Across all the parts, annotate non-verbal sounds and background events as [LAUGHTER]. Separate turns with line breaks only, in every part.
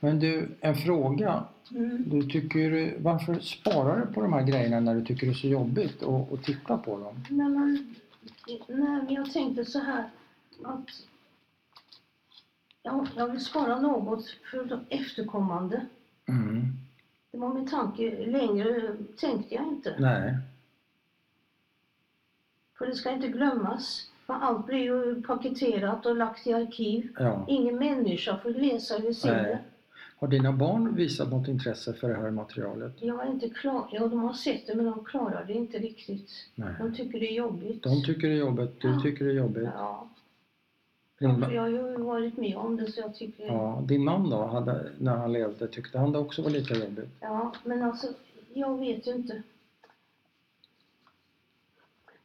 Men du, en fråga.
Mm.
Du tycker, varför sparar du på de här grejerna när du tycker det är så jobbigt att, att titta på dem?
Men, man- nej, men jag tänkte så här att jag, jag vill spara något för de efterkommande.
Mm.
Det var min tanke. Längre tänkte jag inte.
Nej.
För det ska inte glömmas. För allt blir ju paketerat och lagt i arkiv.
Ja.
Ingen människa får läsa eller se
Nej.
det.
Har dina barn visat något intresse för det här materialet?
Jag är inte klar. Ja, de har sett det men de klarar det inte riktigt.
Nej.
De tycker det är jobbigt.
De tycker det är jobbigt, du
Ja.
tycker det är jobbigt.
Ja.
Din,
För jag har ju varit med om det så jag tycker...
ja, din man då, hade, när han levde, tyckte han det också var lika jobbigt?
Ja, men alltså, jag vet ju inte.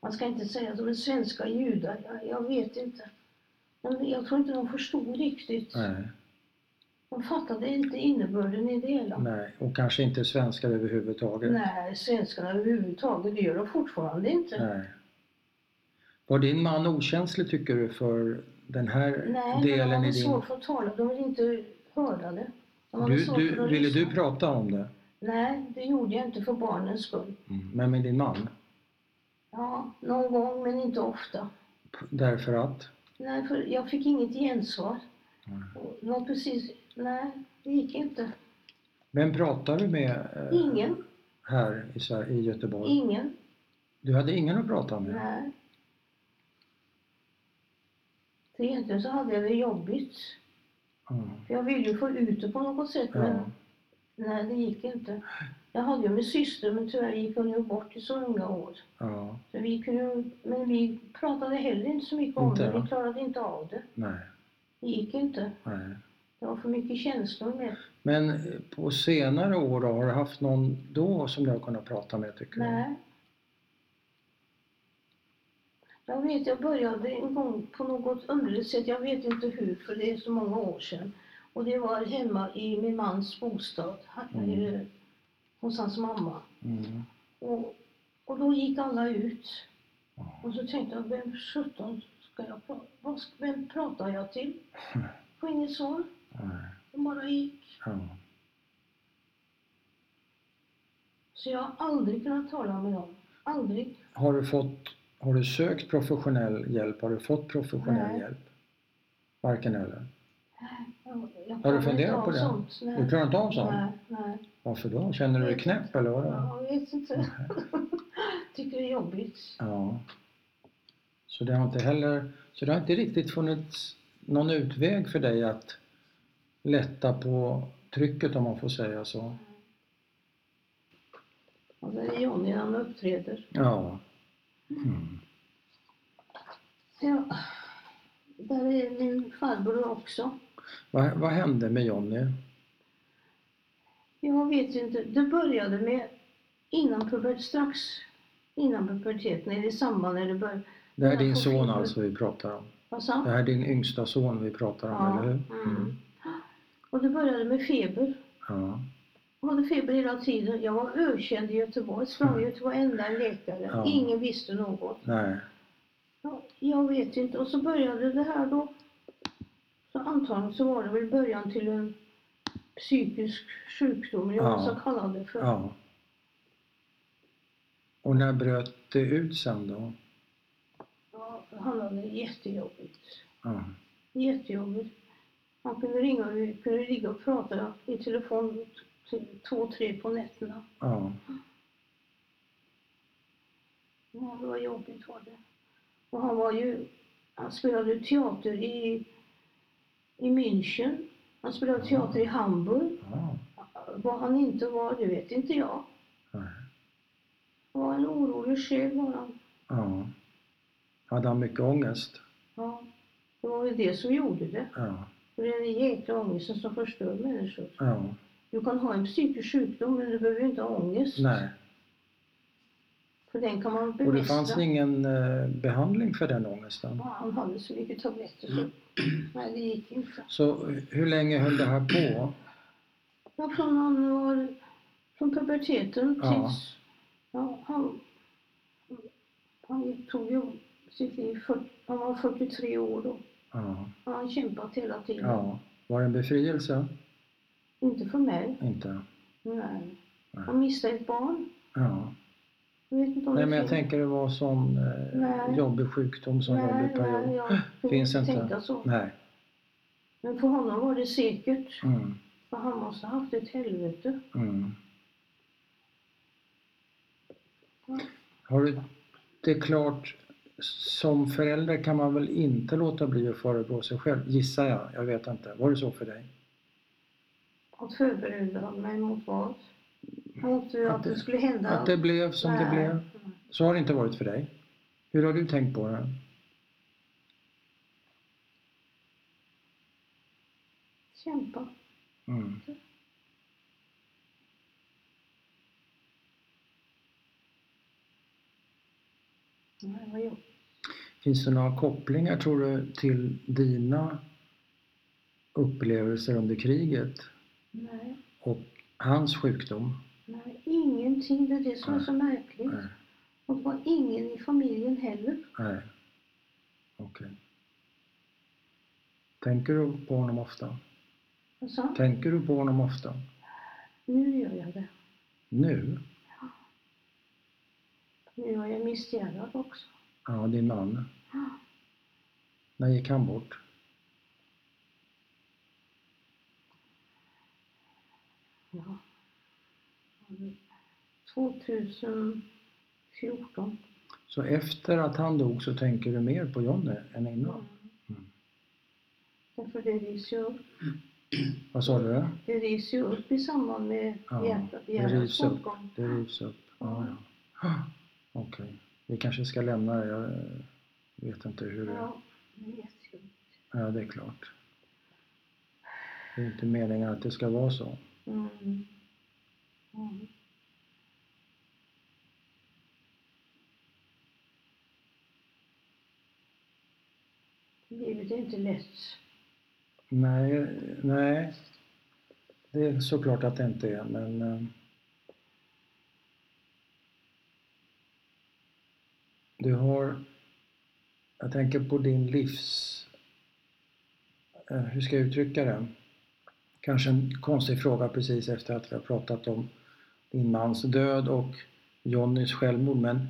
Man ska inte säga att de är svenska judar, jag, jag vet inte. Men jag tror inte de förstod riktigt.
Nej.
De fattade inte innebörden i det hela.
Nej. Och kanske inte svenskar överhuvudtaget?
Nej, svenskarna överhuvudtaget, det gör de fortfarande inte.
Nej. Var din man okänslig tycker du för den här
Nej, men de
delen i
hade
din...
svårt för att tala, de ville inte höra det. De hade
Du,
svårt för
du,
att
ville
lyssna.
du prata om det?
Nej, det gjorde jag inte för barnens skull.
Men med din man?
Ja, någon gång, men inte ofta.
P- Därför att?
Nej, för jag fick inget gensvar.
Nej.
Och Det var precis, nej, det gick inte.
Mm. Vem pratar du med eh,
Ingen,
här i, Sverige, i Göteborg?
ingen,
Du hade ingen att prata med?
nej. Så egentligen så hade jag det jobbigt.
Mm.
För jag ville ju få ut det på något sätt,
Ja.
men nej, det gick inte. Jag hade ju min syster, men tyvärr gick hon ju bort i så unga år.
ja,
Så vi kunde, men vi pratade heller inte så mycket om
Inte,
det,
ja.
vi klarade inte av det.
nej,
Det gick inte.
nej.
Det var för mycket känslor med.
Men eh, på senare år då, har du haft någon då som du har kunnat prata med tycker du?
Nej. Jag vet, jag började en gång på något underligt sätt, jag vet inte hur, för det är så många år sedan. Och det var hemma i min mans bostad, här,
Mm.
eh, hos hans mamma.
Mm.
Och, och då gick alla ut.
Ja.
Och så tänkte jag, vem sjutton ska jag prata, vad, ska- vem pratar jag till? På inget svar.
Nej.
De bara gick.
Ja.
Så jag har aldrig kunnat tala med dem. Aldrig.
Har, du fått, har du sökt professionell hjälp? Har du fått professionell
Nej.
hjälp? Varken eller?
Jag,
Har
jag
du
klarar
funderat
inte av
på det?
Sånt.
Du
Nej.
klarar inte av sånt?
Nej, nej.
Varför då? Känner du dig
Nej.
knäpp eller vadå?
Ja, Jag vet inte. [LAUGHS] Tycker det är jobbigt.
Ja. Så det har inte heller, så det har inte riktigt funnits någon utväg för dig att lätta på trycket om man får säga så?
Och det är Johnny när han uppträder.
Ja. Mm.
Ja. Där är min farbror också.
Vad, vad hände med Jonny?
Jag vet inte. Det började med innan pubert, strax innan puberteten, eller i samband när det började.
Det här är
Jag
din
får
son
filmen.
alltså vi pratar om.
Vad sa han?
Det här är din yngsta son vi pratar om,
Ja,
eller hur?
mm. Och det började med feber.
Ja.
Jag hade feber hela tiden. Jag var ökänd i Göteborg. Sprang ut till varenda läkare.
Mm. Ja.
Ingen visste något.
Nej.
Ja, jag vet inte. Och så började det här då. Så antagligen så var det väl början till en psykisk sjukdom, eller vad
Ja.
man ska kalla det för.
Ja. Och när bröt det ut sen då?
Ja, han hade det jättejobbigt.
Ja.
Jättejobbigt. Han kunde ringa och vi kunde ligga och prata i telefon till två, tre på nätterna.
ja.
Ja, det var jobbigt var det. Och han var ju, han spelade ju teater i, i München. Han spelade teater i Hamburg.
ja.
Vad han inte var, det vet inte jag.
Nej.
Han var en orolig själ var han.
ja. Hade han mycket ångest?
Ja. Det var väl det som gjorde det.
Ja.
För det är den jäkla ångesten som förstör människor.
ja.
Du kan ha en psykisk sjukdom men du behöver ju inte ha ångest.
Nej.
För den kan man
Och
bemästra.
det fanns ingen eh, behandling för den ångesten?
ja, han hade så mycket
[CLEARS THROAT]
tabletter så. Nej, det gick inte.
Så hur länge höll det här på?
Ja, från han var, från puberteten
Ja.
tills, ja, han, han tog ju sitt liv, för, han var 43 år då.
Ja.
Han har kämpat hela tiden.
ja. Var det en befrielse?
Inte för mig.
Inte?
Nej.
Nej.
Han missade ett barn.
Ja.
Jag vet inte om
Nej,
det
men jag
finns-
tänker det var sån eh,
Nej.
jobbig sjukdom, sån
Nej,
jobbig period.
nej, jag
[LAUGHS]
får
Finns
inte
inte.
tänka så.
Nej.
Men för honom var det säkert.
Mm.
För han måste ha haft ett helvete.
Mm.
Ja.
Har du, det är klart, som förälder kan man väl inte låta bli att förebrå sig själv, gissar jag. Jag vet inte. Var det så för dig?
Att förbereda mig mot vad? Mot att,
Att
att
det-
det skulle hända.
Att det blev som det
Nej.
blev? Så har det inte varit för dig. Hur har du tänkt på det?
Kämpa.
Mm.
Nej, vad jobbigt.
Finns det några kopplingar, tror du, till dina upplevelser under kriget
Nej,
och hans sjukdom?
nej, ingenting. Det är det som är så märkligt.
Nej.
Och det var ingen i familjen heller.
Nej. Okej. Tänker du på honom ofta?
Jag sa,
Tänker du på honom ofta?
nu gör jag det.
Nu?
Nu har jag misstjärnat också.
Ja, din man. När gick han bort?
Ja. 2014.
Så efter att han dog så tänker du mer på Jonny än innan? Mm.
Därför det rivs ju upp.
Vad sa du?
Det rivs ju upp i samband med
Ja,
hjärtat.
det
hjärnans
rivs upp.
bortgång.
Det rivs upp. Ja, ja. Ah, Okej. Vi kanske ska lämna det. Jag eh, vet inte hur det är.
Ja, det är jättejobbigt.
Ja, det är klart. Det är inte meningen att det ska vara så.
Mm. Mm. Livet är inte lätt.
Nej, nej. Det är såklart att det inte är, men... eh, Du har... Jag tänker på din livs... eh, Hur ska jag uttrycka det? Kanske en konstig fråga precis efter att vi har pratat om din mans död och Jonnys självmord, men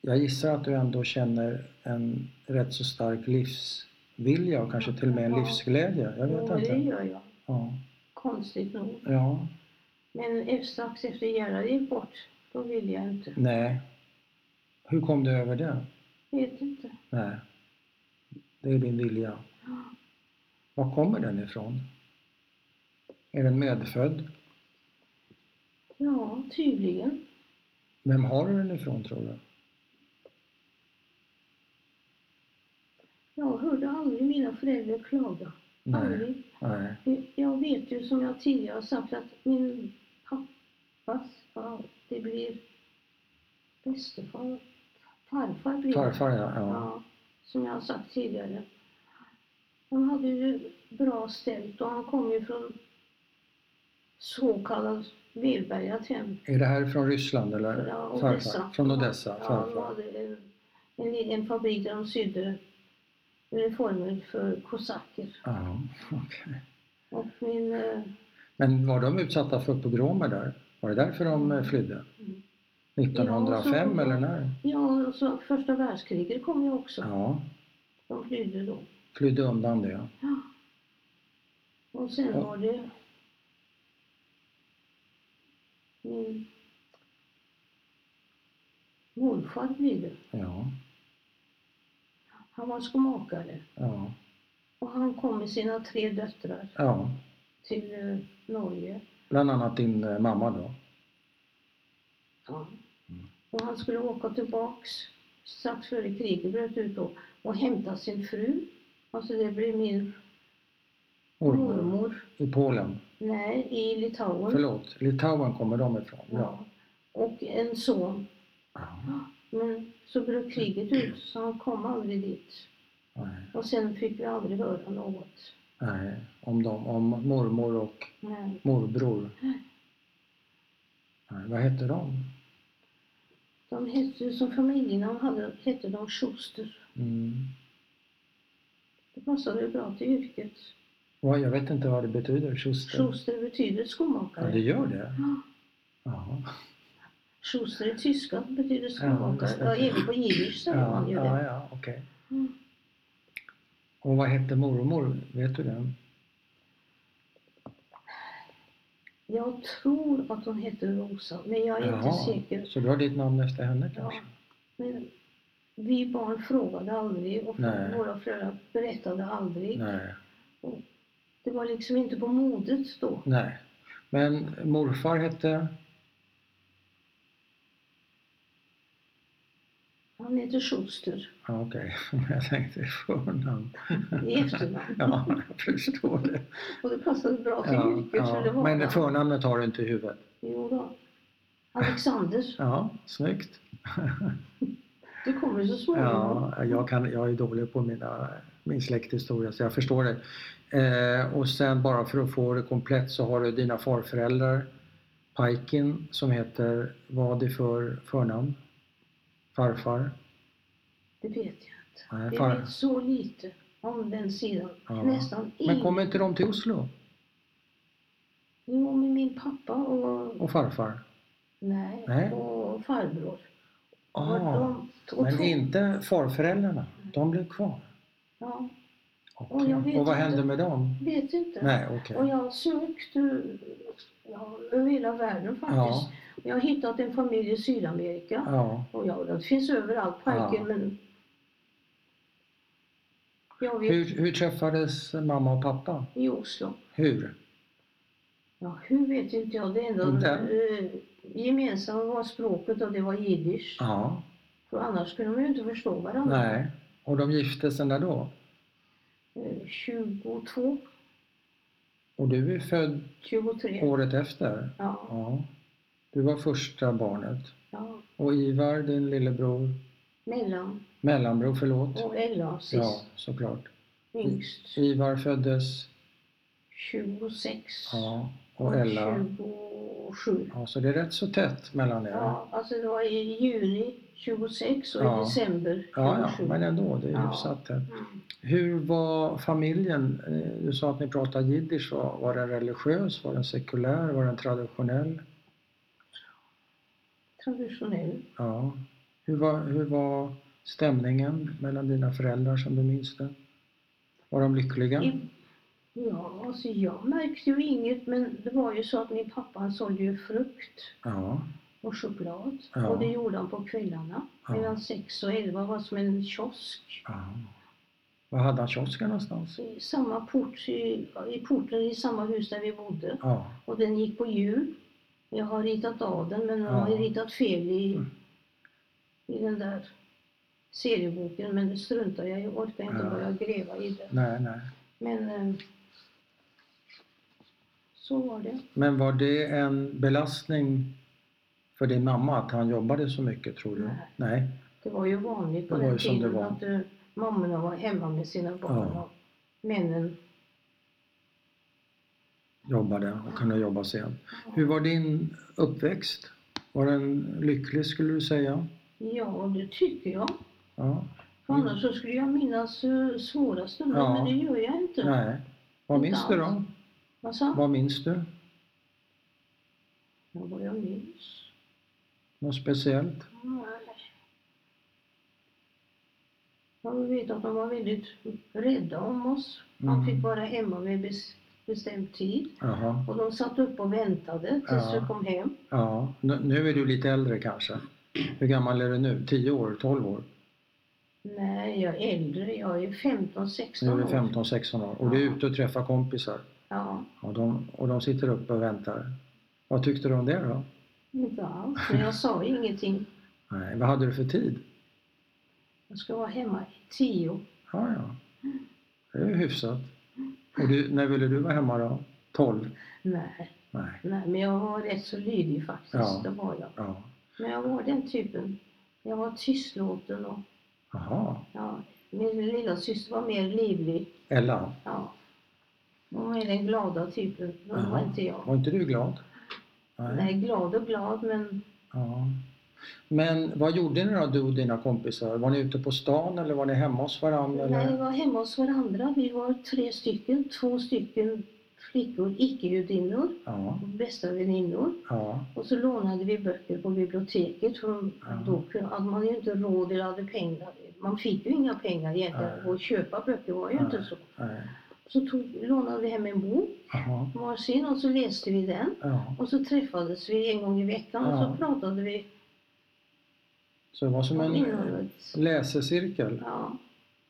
jag gissar att du ändå känner en rätt så stark livsvilja och kanske till och med en
Ja.
livsglädje. Jag vet
Jo, det
inte.
gör jag.
Ja.
Konstigt nog.
ja.
Men efter- strax efter Gerhard gick bort, då ville jag inte.
Nej. Hur kom du över det?
Vet inte.
Nej. Det är din vilja. Var kommer den ifrån? Är den medfödd?
Ja, tydligen.
Vem har du den ifrån tror du?
Jag hörde aldrig mina föräldrar klaga.
Nej.
Aldrig.
Nej.
Jag vet ju som jag tidigare har sagt att min pappas far, det blir bästefar, farfar blir det.
Farfar ja. ja.
Ja, som jag har sagt tidigare. Han hade ju bra ställt och han kom ju från så kallat välbärgat hem.
Är det här från Ryssland eller?
Ja,
Farfar. Från Odessa.
Ja, de
Farfar.
hade en, en, en fabrik där de sydde uniformer för kosacker.
Ja, okej.
Och min eh,
Men var de utsatta för pogromer där? Var det därför de eh, flydde?
Mm.
1905
Ja, så-
eller när?
Ja, och så första världskriget kom ju också.
Ja,
De flydde då.
flydde undan det.
Ja. Och sen
Ja.
var det min morfar blev det.
Ja,
Han var skomakare
ja,
och han kom med sina tre döttrar
ja.
till eh, Norge.
Bland annat din eh, mamma då?
Ja.
Mm.
Och han skulle åka tillbaks strax före kriget bröt ut då och hämta sin fru. Alltså det blev min
Mormor.
mormor.
I Polen.
Nej, i Litauen.
Förlåt, Litauen kommer de ifrån? Ja.
Ja. Och en son.
Ja.
Men så bröt kriget ut så han kom aldrig dit.
Nej,
Och sen fick vi aldrig höra något.
nej. Om, de, om mormor och
Men
morbror. Nej, vad hette de?
de hette ju som familjenamn hade, hette de Schuster.
Mm.
Det passade ju bra till yrket.
Vad- Jag vet inte vad det betyder, Schuster.
Schuster betyder
Ja, det
skomakare.
gör det?
Ja.
Ja,
Schuster i tyska betyder
Ja, just
skomakare.
det.
Ja, även på jiddisch säger
ja,
man ju
ja,
det.
ja okej.
Mm.
Och vad hette mormor? Vet du det?
Jag tror att hon heter Rosa, men jag är inte
Jaha.
säker.
Så du har ditt namn efter henne
Ja.
kanske?
Men vi barn frågade aldrig och
Nej.
våra föräldrar berättade aldrig.
Nej.
Det var liksom inte på modet då.
Nej. Men morfar hette?
Han heter Schuster
Ja, okej. [LAUGHS] Jag tänkte förnamn. [LAUGHS]
i efternamn.
Ja, jag förstår
[LAUGHS]
det.
Och det passade bra till
Ja,
yrket för det
ja.
var
Men
han.
förnamnet har du inte i huvudet?
Jo då. Alexander,
Ja, snyggt.
du kommer så småningom.
Ja, jag, kan, jag är dålig på mina, min släkthistoria så jag förstår det. Eh, och sen bara för att få det komplett så har du dina farföräldrar Pajkin som heter, vad är det för förnamn? Farfar?
Det vet jag inte.
Nej,
Jag
far.
vet så lite om den sidan.
Ja.
Nästan
Men
inget.
kommer inte de till Oslo?
Jo, med min pappa och,
Och farfar?
nej,
Nej.
och farbror. Och
Ah,
de- och
men
två-
inte farföräldrarna, de blev kvar?
Ja,
Okej.
Och jag vet
Och vad
inte.
hände med dem?
vet inte.
Nej, okej.
Och jag har sökt eh, ja, över hela världen faktiskt.
Ja,
Jag har hittat en familj i Sydamerika.
ja,
Och ja, den finns överallt,
Ah.
parken, men... Jag vet,
Hur, hur träffades mamma och pappa?
i Oslo.
Hur?
Ja, hur vet inte jag. Det enda
Inte?
eh, gemensamma var språket och det var jiddisch.
Ja,
För annars skulle de ju inte förstå varandra.
nej. Och de gifte sig när då?
Eh, 22,
Och du är född
23.
året efter?
Ja,
Ja. Du var första barnet.
ja.
Och Ivar, din lillebror,
Mellan
mellanbror, förlåt?
och Ella
Ja,
sist,
såklart.
yngst.
Ivar föddes,
26.
ja, och Ella.
27.
Ja, så det är rätt så tätt mellan er.
Ja, alltså det var i juni 26 och
Ja.
i december
Ja, ja,
27.
men ändå, det är
Ja.
hyfsat tätt.
Mm.
Hur var familjen? Eh, Du sa att ni pratade jiddisch. Var, var den religiös? Var den sekulär? Var den traditionell?
Traditionell.
Ja. Hur var, hur var stämningen mellan dina föräldrar som du minns det? Var de lyckliga?
I- Ja, alltså jag märkte ju inget men det var ju så att min pappa han sålde ju frukt
Ja.
och choklad
Ja.
och det gjorde han på kvällarna.
Ja.
Mellan 6 och 11 var som en kiosk.
ja. Var hade han kiosken någonstans?
I samma port, i, i porten i samma hus där vi bodde.
Ja.
Och den gick på hjul. Jag har ritat av den men jag har
Ja.
ju ritat fel i,
Mm.
i den där serieboken men det struntar jag i. Jag orkar inte
Ja.
börja gräva i det.
Nej, nej.
Men eh, så var det.
Men var det en belastning för din mamma att han jobbade så mycket tror du?
Nej.
nej.
Det var ju vanligt på
Det var ju
den
som det
tiden
var.
att eh, mammorna var hemma med sina barn
Ja.
och männen.
Jobbade och kunde jobba sent. Hur var din uppväxt? Var den lycklig skulle du säga?
Ja, det tycker jag.
Ja.
För annars så skulle jag minnas eh, svåra stunder,
Mm. Ja.
men det gör jag inte.
Nej. Vad
Inte
minns du då?
alls. Vad sa
Vad minns du?
Ja, vad jag minns.
Något speciellt?
Nej. Jag vet att de var väldigt rädda om oss. Man
Mm.
fick vara hemma vid bes- bestämd tid.
Jaha.
Och de satt upp och väntade tills
Ja.
vi kom hem.
Ja. Nu- Nu är du lite äldre kanske. Hur gammal är du nu? 10 år? 12 år?
Nej, jag är äldre. Jag är 15, 16
Nu är du
år.
15, 16 år och du är
Ja.
ute och träffar kompisar.
Ja,
Och de, och de sitter uppe och väntar. Vad tyckte du om det då?
inte alls. Men jag sa ingenting.
Nej, vad hade du för tid?
Jag ska vara hemma i tio.
Ja, ja. Det är ju hyfsat. Och du, när ville du vara hemma då? 12?
Nej,
Nej.
nej, men jag var rätt så lydig faktiskt.
Ja.
Det var jag.
Ja.
Men jag var den typen. Jag var tystlåten och
Jaha.
ja, min lilla syster var mer livlig.
Ella,
Ja. Hon var den glada typ. typen. Men det var
Jaha.
inte jag.
var inte du glad?
Nej, glad och glad men
Ja. Men vad gjorde ni då, du och dina kompisar? Var ni ute på stan eller var ni hemma hos varandra?
Nej, vi
Eller?
var hemma hos varandra. Vi var tre stycken. Två stycken flickor, icke-judinnor,
Ja,
bästa väninnor.
ja,
Och så lånade vi böcker på biblioteket för de-
Ja.
då kunde- hade man ju inte råd eller hade pengar. Man fick ju inga pengar egentligen
Nej.
och köpa böcker var ju
Nej.
inte så.
nej,
Så tog, lånade vi hem en bok
aha,
varsin och så läste vi den.
ja.
Och så träffades vi en gång i veckan och
Ja.
så pratade vi
Så det var som
om
en eh,
innehållet.
läsecirkel.
Ja,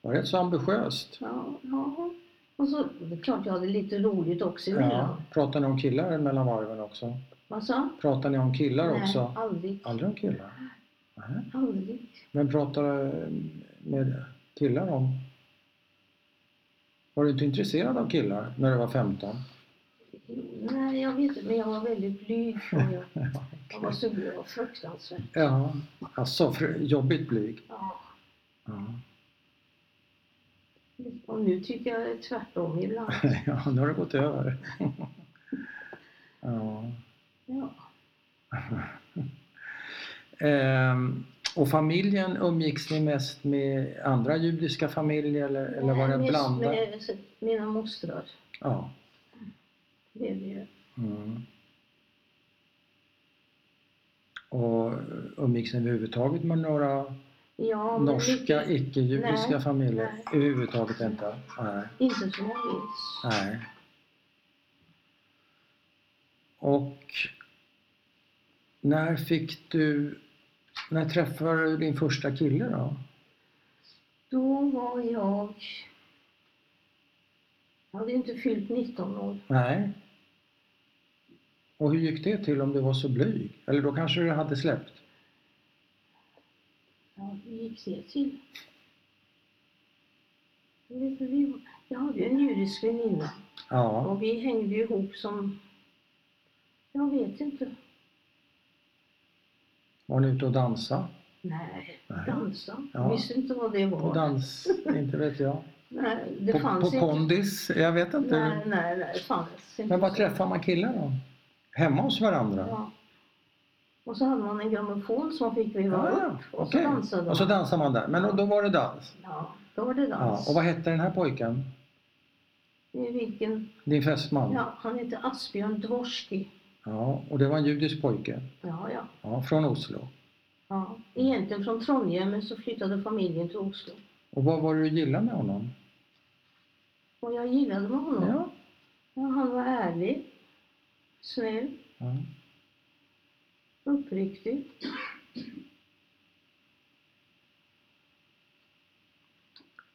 Det var rätt så ambitiöst.
ja, ja. Och så, det är klart jag hade lite roligt också
Ja.
emellan.
Pratade ni om killar mellan varven också?
Vad sa?
Pratade ni om killar
Nej,
också?
aldrig.
Aldrig om killar? Nej.
Aldrig.
Men pratade med killar om? Var du inte intresserad av killar när du var 15?
Nej, jag vet inte, men jag var väldigt blyg. tror Jag,
[LAUGHS]
jag var så jag var fruktansvärt.
Ja, alltså fr- jobbigt blyg.
Ja.
Ja.
Och nu tycker jag tvärtom
[LAUGHS]
ibland.
[LAUGHS] ja, nu har det gått över. ja.
Ja.
Ehm, och familjen, umgicks ni mest med andra judiska familjer eller, eller var
Nej,
det
mest
blandat?
Med alltså, mina mostrar
Ja.
blev det ju.
Mm. Och umgicks ni överhuvudtaget med några
Ja, men
norska
inte,
icke-judiska
Nej,
familjer?
nej.
Överhuvudtaget inte? Nej.
inte som jag minns.
Nej. Och när fick du, när träffade du din första kille då?
Då var jag... Jag hade ju inte fyllt 19 år.
Nej. Och hur gick det till om du var så blyg? Eller då kanske du hade släppt?
Ja, hur gick det till? Jag vet inte, vi- Jag hade ju en judisk väninna.
Ja.
Och vi hängde ju ihop som... Jag vet inte.
Var ni ute och dansa?
Nej,
Nej.
dansa.
Ja.
Jag visste inte vad det var.
På dans? Inte vet jag.
Nej, det
På,
fanns
på
inte.
kondis? Jag vet
Nej,
inte.
nej, nej, det fanns inte.
Men var träffar man killar då? Hemma hos varandra?
Ja. Och så hade man en grammofon som fick vi
Ja,
vara
ja,
upp. Och
okej.
så dansade man.
Och så dansar man där. Men då- då var det dans?
Ja, då var det
Ja.
dans.
Och vad hette den här pojken?
I vilken...
Din fästman?
Ja, han hette Asbjörn Dvorski.
Ja, och det var en judisk pojke
Ja, ja,
ja, från Oslo.
ja. Egentligen från Trondheim, men så flyttade familjen till Oslo.
Och vad var det du gillade med honom?
Och jag gillade med honom.
Ja.
Ja, han var ärlig, snäll,
ja.
uppriktig.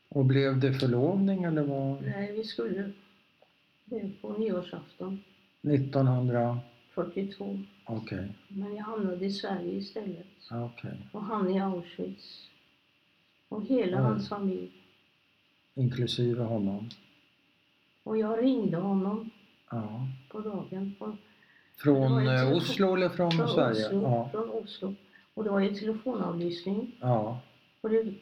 Och blev det förlovning eller vad?
Nej, vi skulle det på nyårsafton
1900?
42.
Okej,
Men jag hamnade i Sverige istället.
ja, okej.
Och han i Auschwitz. Och hela
Oj.
hans familj.
Inklusive honom.
Och jag ringde honom
Ja.
på dagen. Och Det var
Från
ju
eh,
till-
Oslo eller från,
från,
Sverige?
Oslo,
Ja.
från Oslo. Och det var ju telefonavlyssning.
ja.
Och det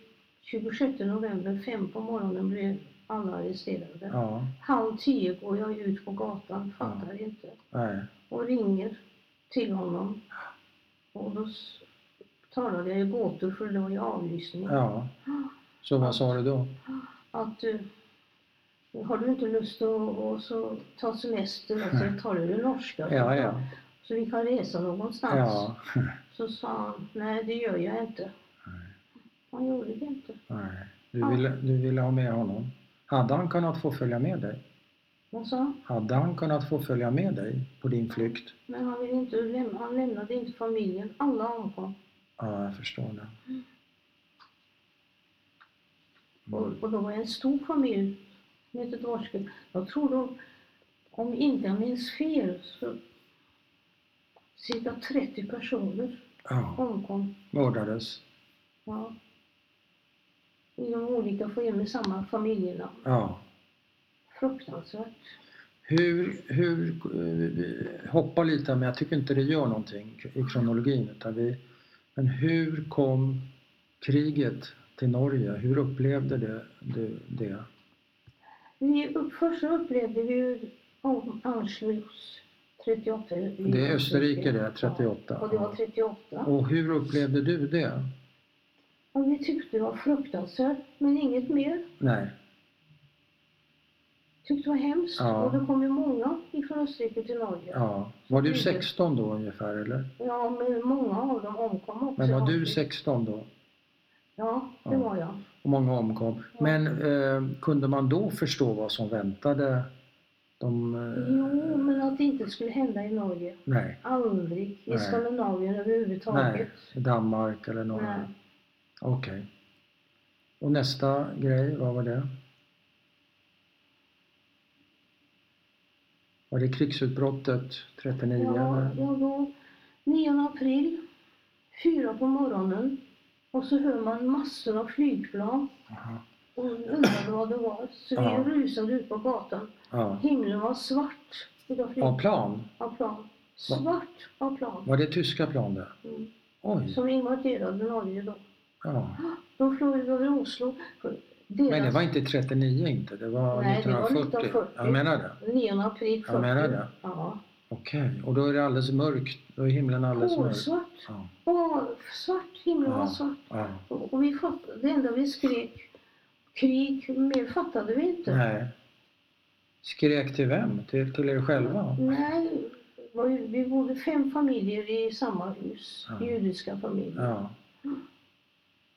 26 november, fem på morgonen, blev alla arresterade.
Ja.
Halv tio går jag ut på gatan, fattar inte.
Nej.
och ringer till honom. Och då s- talade jag i gåtor för det var ju avlyssning.
Ja. Så vad sa du då?
Att eh, har du inte lust att och så ta semester och så tar du det norska. så-
Ja, ja.
Så vi kan resa någonstans.
Ja.
Så sa han, nej det gör jag inte.
Nej.
Han gjorde det inte.
Nej. Du, ville, du ville ha med honom. Hade han kunnat få följa med dig?
Vad sa han?
Hade han kunnat få följa med dig på din flykt?
Men han, ville inte lämna, han lämnade inte familjen. Alla avkom.
Ja, jag förstår det.
Och,
Mm.
och då var jag en stor familj med ett dvorske. Jag tror de, om inte jag minns fel, så cirka 30 personer
Ja,
omkom
mördades.
ja, i de olika foyer med samma familjerna.
Ja.
Fruktansvärt.
Hur, hur, eh, hoppa lite men jag tycker inte det gör någonting i kronologin. Utan vi, men hur kom kriget till Norge? Hur upplevde det, du det?
Vi upp, först så upplevde vi ju om Auschwitz 38 i
Det är Österrike det, 38.
Ja, Och det var 38.
Och hur upplevde du det?
Och vi tyckte det var fruktansvärt, men inget mer.
Nej.
Tyckte det var hemskt.
Ja.
Och det kom ju många ifrån Österrike till Norge.
Ja. Var
Mm.
du 16 då ungefär eller?
Ja, men många av dem omkom också.
Men var du 16 då?
Ja, det
Ja.
var jag.
Och många omkom. Men eh, kunde man då förstå vad som väntade? De, eh,
Jo, men att det inte skulle hända i Norge.
Nej.
Aldrig. I
Nej.
Skandinavien överhuvudtaget.
Nej. Danmark eller Norge.
Nej.
Okej. Och nästa grej, vad var det? Var det krigsutbrottet 39?
Ja,
eller?
ja, då 9 april, fyra på morgonen. Och så hör man massor av flygplan
Jaha.
och undrade vad det var. Så vi
Ja.
rusade ut på gatan.
Ja.
Himlen var svart utav
Av
flygplan.
plan?
Av plan. Svart av plan.
Var det tyska plan det?
Mm.
Oj!
Som invaderade Norge då.
Ja.
De flög över Oslo. Deras
Men det var inte 39 inte, det var
Nej, det var
1940.
1940.
Jag menar det.
9 april 40.
Jag menar det.
Ja.
Okej, och då är det alldeles mörkt, då är himlen alldeles mörk.
Kolsvart.
Ja.
Åh, svart. Himlen var
Ja.
svart.
ja.
Och och vi fattade, det enda vi skrek, krig, mer fattade vi inte.
Nej. Skrek till vem? Till, till er själva?
Mm. Nej, det var ju- vi bodde fem familjer i samma hus,
Ja.
judiska familjer.
Ja.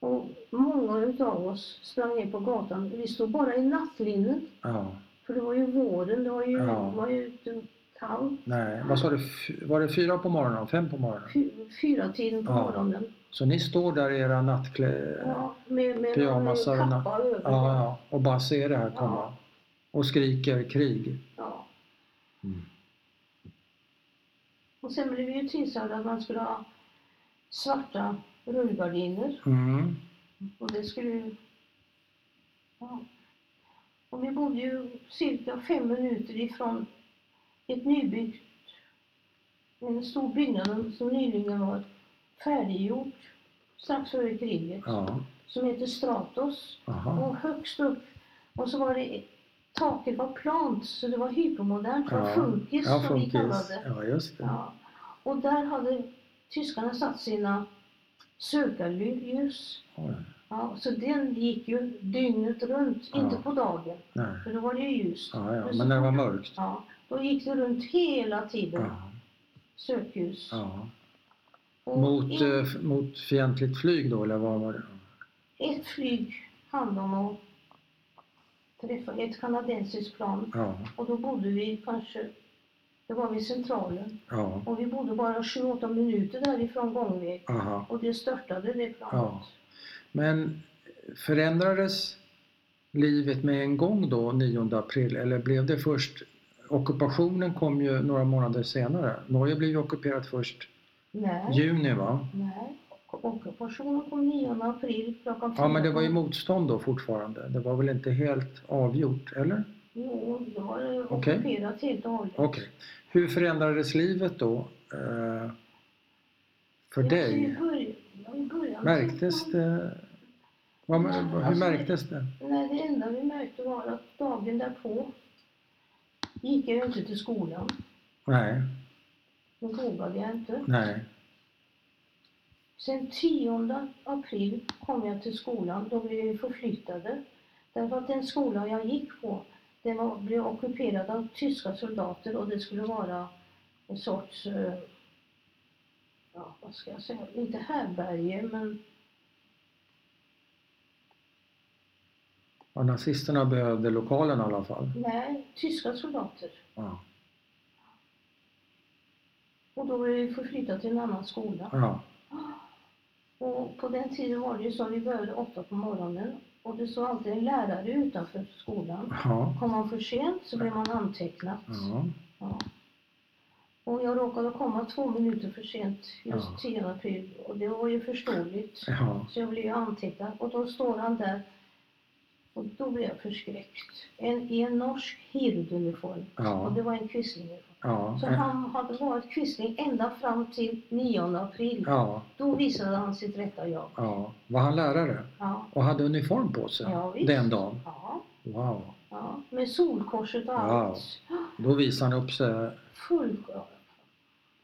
Och många utav oss sprang ner på gatan. Vi stod bara i nattlinnen,
ja.
för det var ju våren, det var ju,
Ja.
var ju ute kallt.
Nej, vad sa du? Fy- Var det fyra på morgonen? Fem på morgonen?
Fy- Fyra tiden på
Ja.
morgonen.
Så ni står där i era nattklä... Ja,
Ja, med, med
Pyjamasar och
någon
natt-
kappa över.
ja, och bara ser det här komma. Och skriker krig.
Ja. Och sen blev vi ju tillsagda att man skulle ha svarta rullgardiner.
Mm.
Och det skulle ju... Ja. Och vi bodde ju cirka fem minuter ifrån ett nybyggt, en stor byggnad som nyligen var färdiggjord strax före kriget,
Ja,
som heter Stratos.
aha.
Och högst upp, och så var det, taket var plant, så det var hypermodernt, det var
Ja.
funkis
Ja,
som vi
funkis.
kallade
Ja, just det.
Ja. Och där hade tyskarna satt sina sökarljus.
Oj,
Ja, så den gick ju dygnet runt,
Ja.
inte på dagen,
nej.
för då var det ju ljust.
Ja, ja. Men när det var mörkt?
Ja, då gick det runt hela tiden,
Ja.
sökljus.
ja.
Och
Mot,
in-
eh, f- mot fientligt flyg då, eller vad var det?
ett flyg hann de att träffa, ett kanadensiskt plan.
Ja,
Och då bodde vi kanske, det var vid centralen,
ja,
och vi bodde bara 7-8 minuter därifrån gångväg.
aha.
Och det störtade det planet.
Ja. Men förändrades livet med en gång då, 9 april, eller blev det först Ockupationen kom ju några månader senare. Norge blev ju ockuperat först
Nej.
juni va?
Nej, ockupationen kom 9 april klockan
Ja men det var ju
på-
motstånd då fortfarande. Det var väl inte helt avgjort, eller?
Jo, det var
Okej.
ockuperat helt och hållet.
Okej. Hur förändrades livet då? Eh, för
Det var i
dig?
börj- ja, i början
Märktes
tyckte
det? Vad, hur
Alltså,
märktes det?
man- Nej, det enda vi märkte var att dagen därpå gick jag ju inte till skolan.
Nej,
Då vågade jag inte.
nej.
Sen 10 april kom jag till skolan. Då blev vi förflyttade. Därför att den skola jag gick på, den var, blev ockuperad av tyska soldater och det skulle vara en sorts, eh, ja vad ska jag säga, inte härbärge men
Ja, nazisterna behövde lokalen i alla fall.
nej, tyska soldater.
Ja.
Och då blev vi förflyttade till en annan skola.
Ja,
Och på den tiden var det ju så, vi började åtta på morgonen och det stod alltid en lärare utanför skolan.
ja,
Kom man för sent så blev man antecknat.
ja,
Ja. Och jag råkade komma två minuter för sent just
Ja.
10 april och det var ju förståeligt.
ja.
Så jag blev ju antecknad och då står han där och då blev jag förskräckt. En, I en norsk hirduniform
Ja.
och det var en quislinguniform.
ja.
Så han hade varit quisling ända fram till 9 april.
ja,
Då visade han sitt rätta jag.
ja. Var han lärare?
Ja.
Och hade uniform på sig
Ja, visst.
den dagen?
Ja.
Wow.
ja. Med solkorset och
Wow.
allt.
Då visade han upp sig.
Full,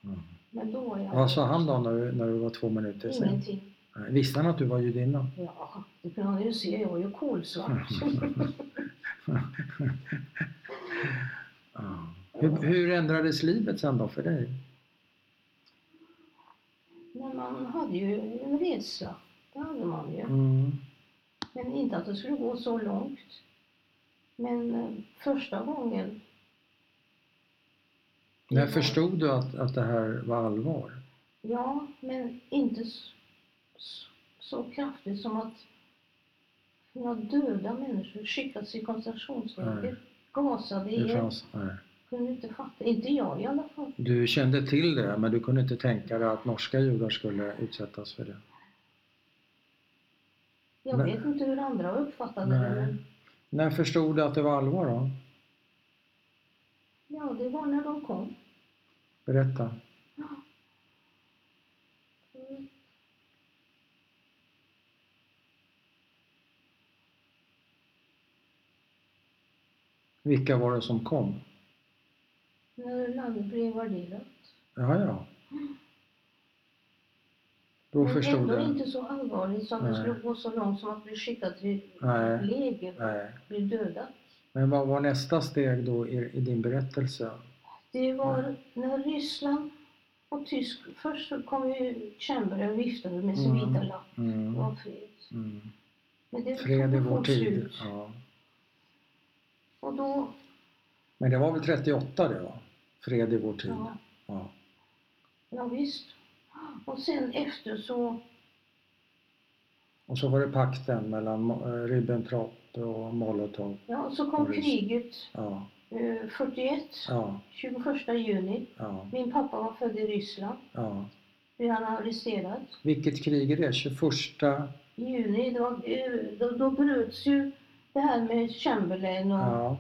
Mm.
Men då var jag...
Vad sa han då när du, när du var två minuter sen?
Ingenting.
Nej, Visste han att du var judinna?
Ja, det kunde han ju se. Jag var ju kolsvart.
Mm. Ja. Hur, hur ändrades livet sen då för dig?
Men man hade ju en resa. Det hade man ju.
Mm.
Men inte att det skulle gå så långt. Men eh, första gången...
När förstod du att, att det här var allvar?
Ja, men inte s- s- så kraftigt som att kunna döda människor, skickas i
Nej.
koncentrationsläger, gasade
Det
ihjäl.
fanns, nej.
Kunde inte fatta. Inte jag i alla fall.
Du kände till det men du kunde inte tänka dig att norska judar skulle utsättas för det?
Jag
Nej.
vet inte hur andra uppfattade det.
Nej.
Men,
När förstod du att det var allvar då?
ja, det var när de kom.
Berätta.
Mm.
Vilka var det som kom?
När landet blev invaderat.
Ja, ja. Då
men
förstod
ändå
du?
inte så allvarligt som att
Nej.
det skulle gå så långt som att bli skickad till
Nej.
läger,
Nej.
bli dödad.
Men vad var nästa steg då i, i din berättelse?
Det var när Ryssland och Tyskland... Först så kom ju Chamberlain och viftade med sin
Mm.
vita lapp. Det
Mm.
var fred.
Mm.
Men det
Fred i
tog
vår
fort
tid.
slut.
Ja.
Och då...
Men det var väl 38 det var? Fred i vår tid.
Ja,
Ja.
ja, visst. Och sen efter så...
Och så var det pakten mellan eh, Ribbentrop och Molotov.
Ja, så kom
Och visst.
kriget
Ja,
eh, 41,
ja,
21 juni.
ja,
Min pappa var född i Ryssland.
ja.
Blev han arresterad.
Vilket krig är det? 21?
I juni, det var, eh, då, då bröts ju det här med Chamberlain och,
Ja,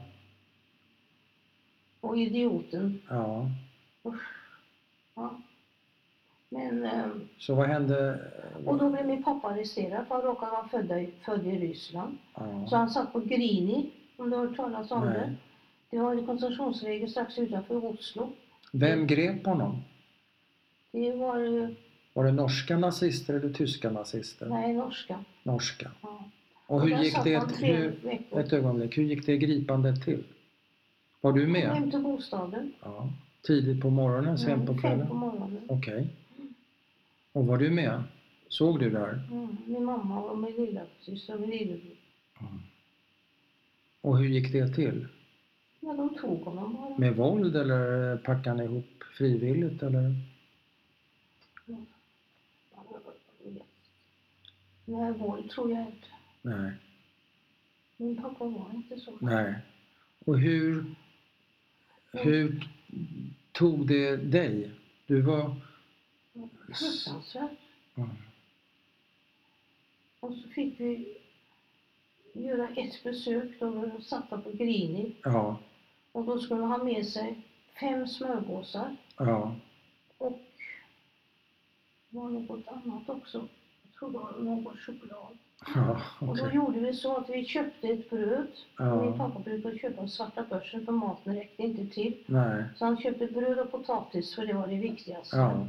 och idioten.
ja.
Ja. Men... Eh,
Så vad hände?
Och då blev min pappa arresterad för han råkade vara född i, född i Ryssland. Så
Ja.
han satt på Grini, om du har hört talas om
Nej.
det. Det var ett koncentrationsläger strax utanför Oslo.
Vem grep honom?
Det var eh, ju,
Var det norska nazister eller tyska nazister?
nej, norska.
Norska.
Ja.
Och hur
där
gick
satt
det,
han tre
hur,
veckor.
ett ögonblick, hur gick det gripandet till? Var du
Han
med?
Hem till bostaden.
Ja. Tidigt på morgonen, sent på
Mm, Fem på
kvällen?
morgonen.
Okej. Och var du med? Såg du där?
Mm, min mamma och min lillasyster och min lillebror.
Och hur gick det till?
Ja, de tog honom bara.
Med våld eller packade ni ihop frivilligt eller?
Nej, våld tror jag inte.
Nej.
Min pappa var inte så.
Nej. Och hur, hur tog det dig? Du var...
Fruktansvärt.
Mm.
Och så fick vi göra ett besök, då var de satta på Grini.
Ja,
Och då skulle de ha med sig fem smörgåsar
ja,
och det var något annat också. Jag tror det var någon choklad.
ja,
Och
okej.
då gjorde vi så att vi köpte ett bröd.
Ja.
Min pappa brukade köpa på svarta börsen för maten räckte inte till.
Nej,
Så han köpte bröd och potatis för det var det viktigaste.
ja,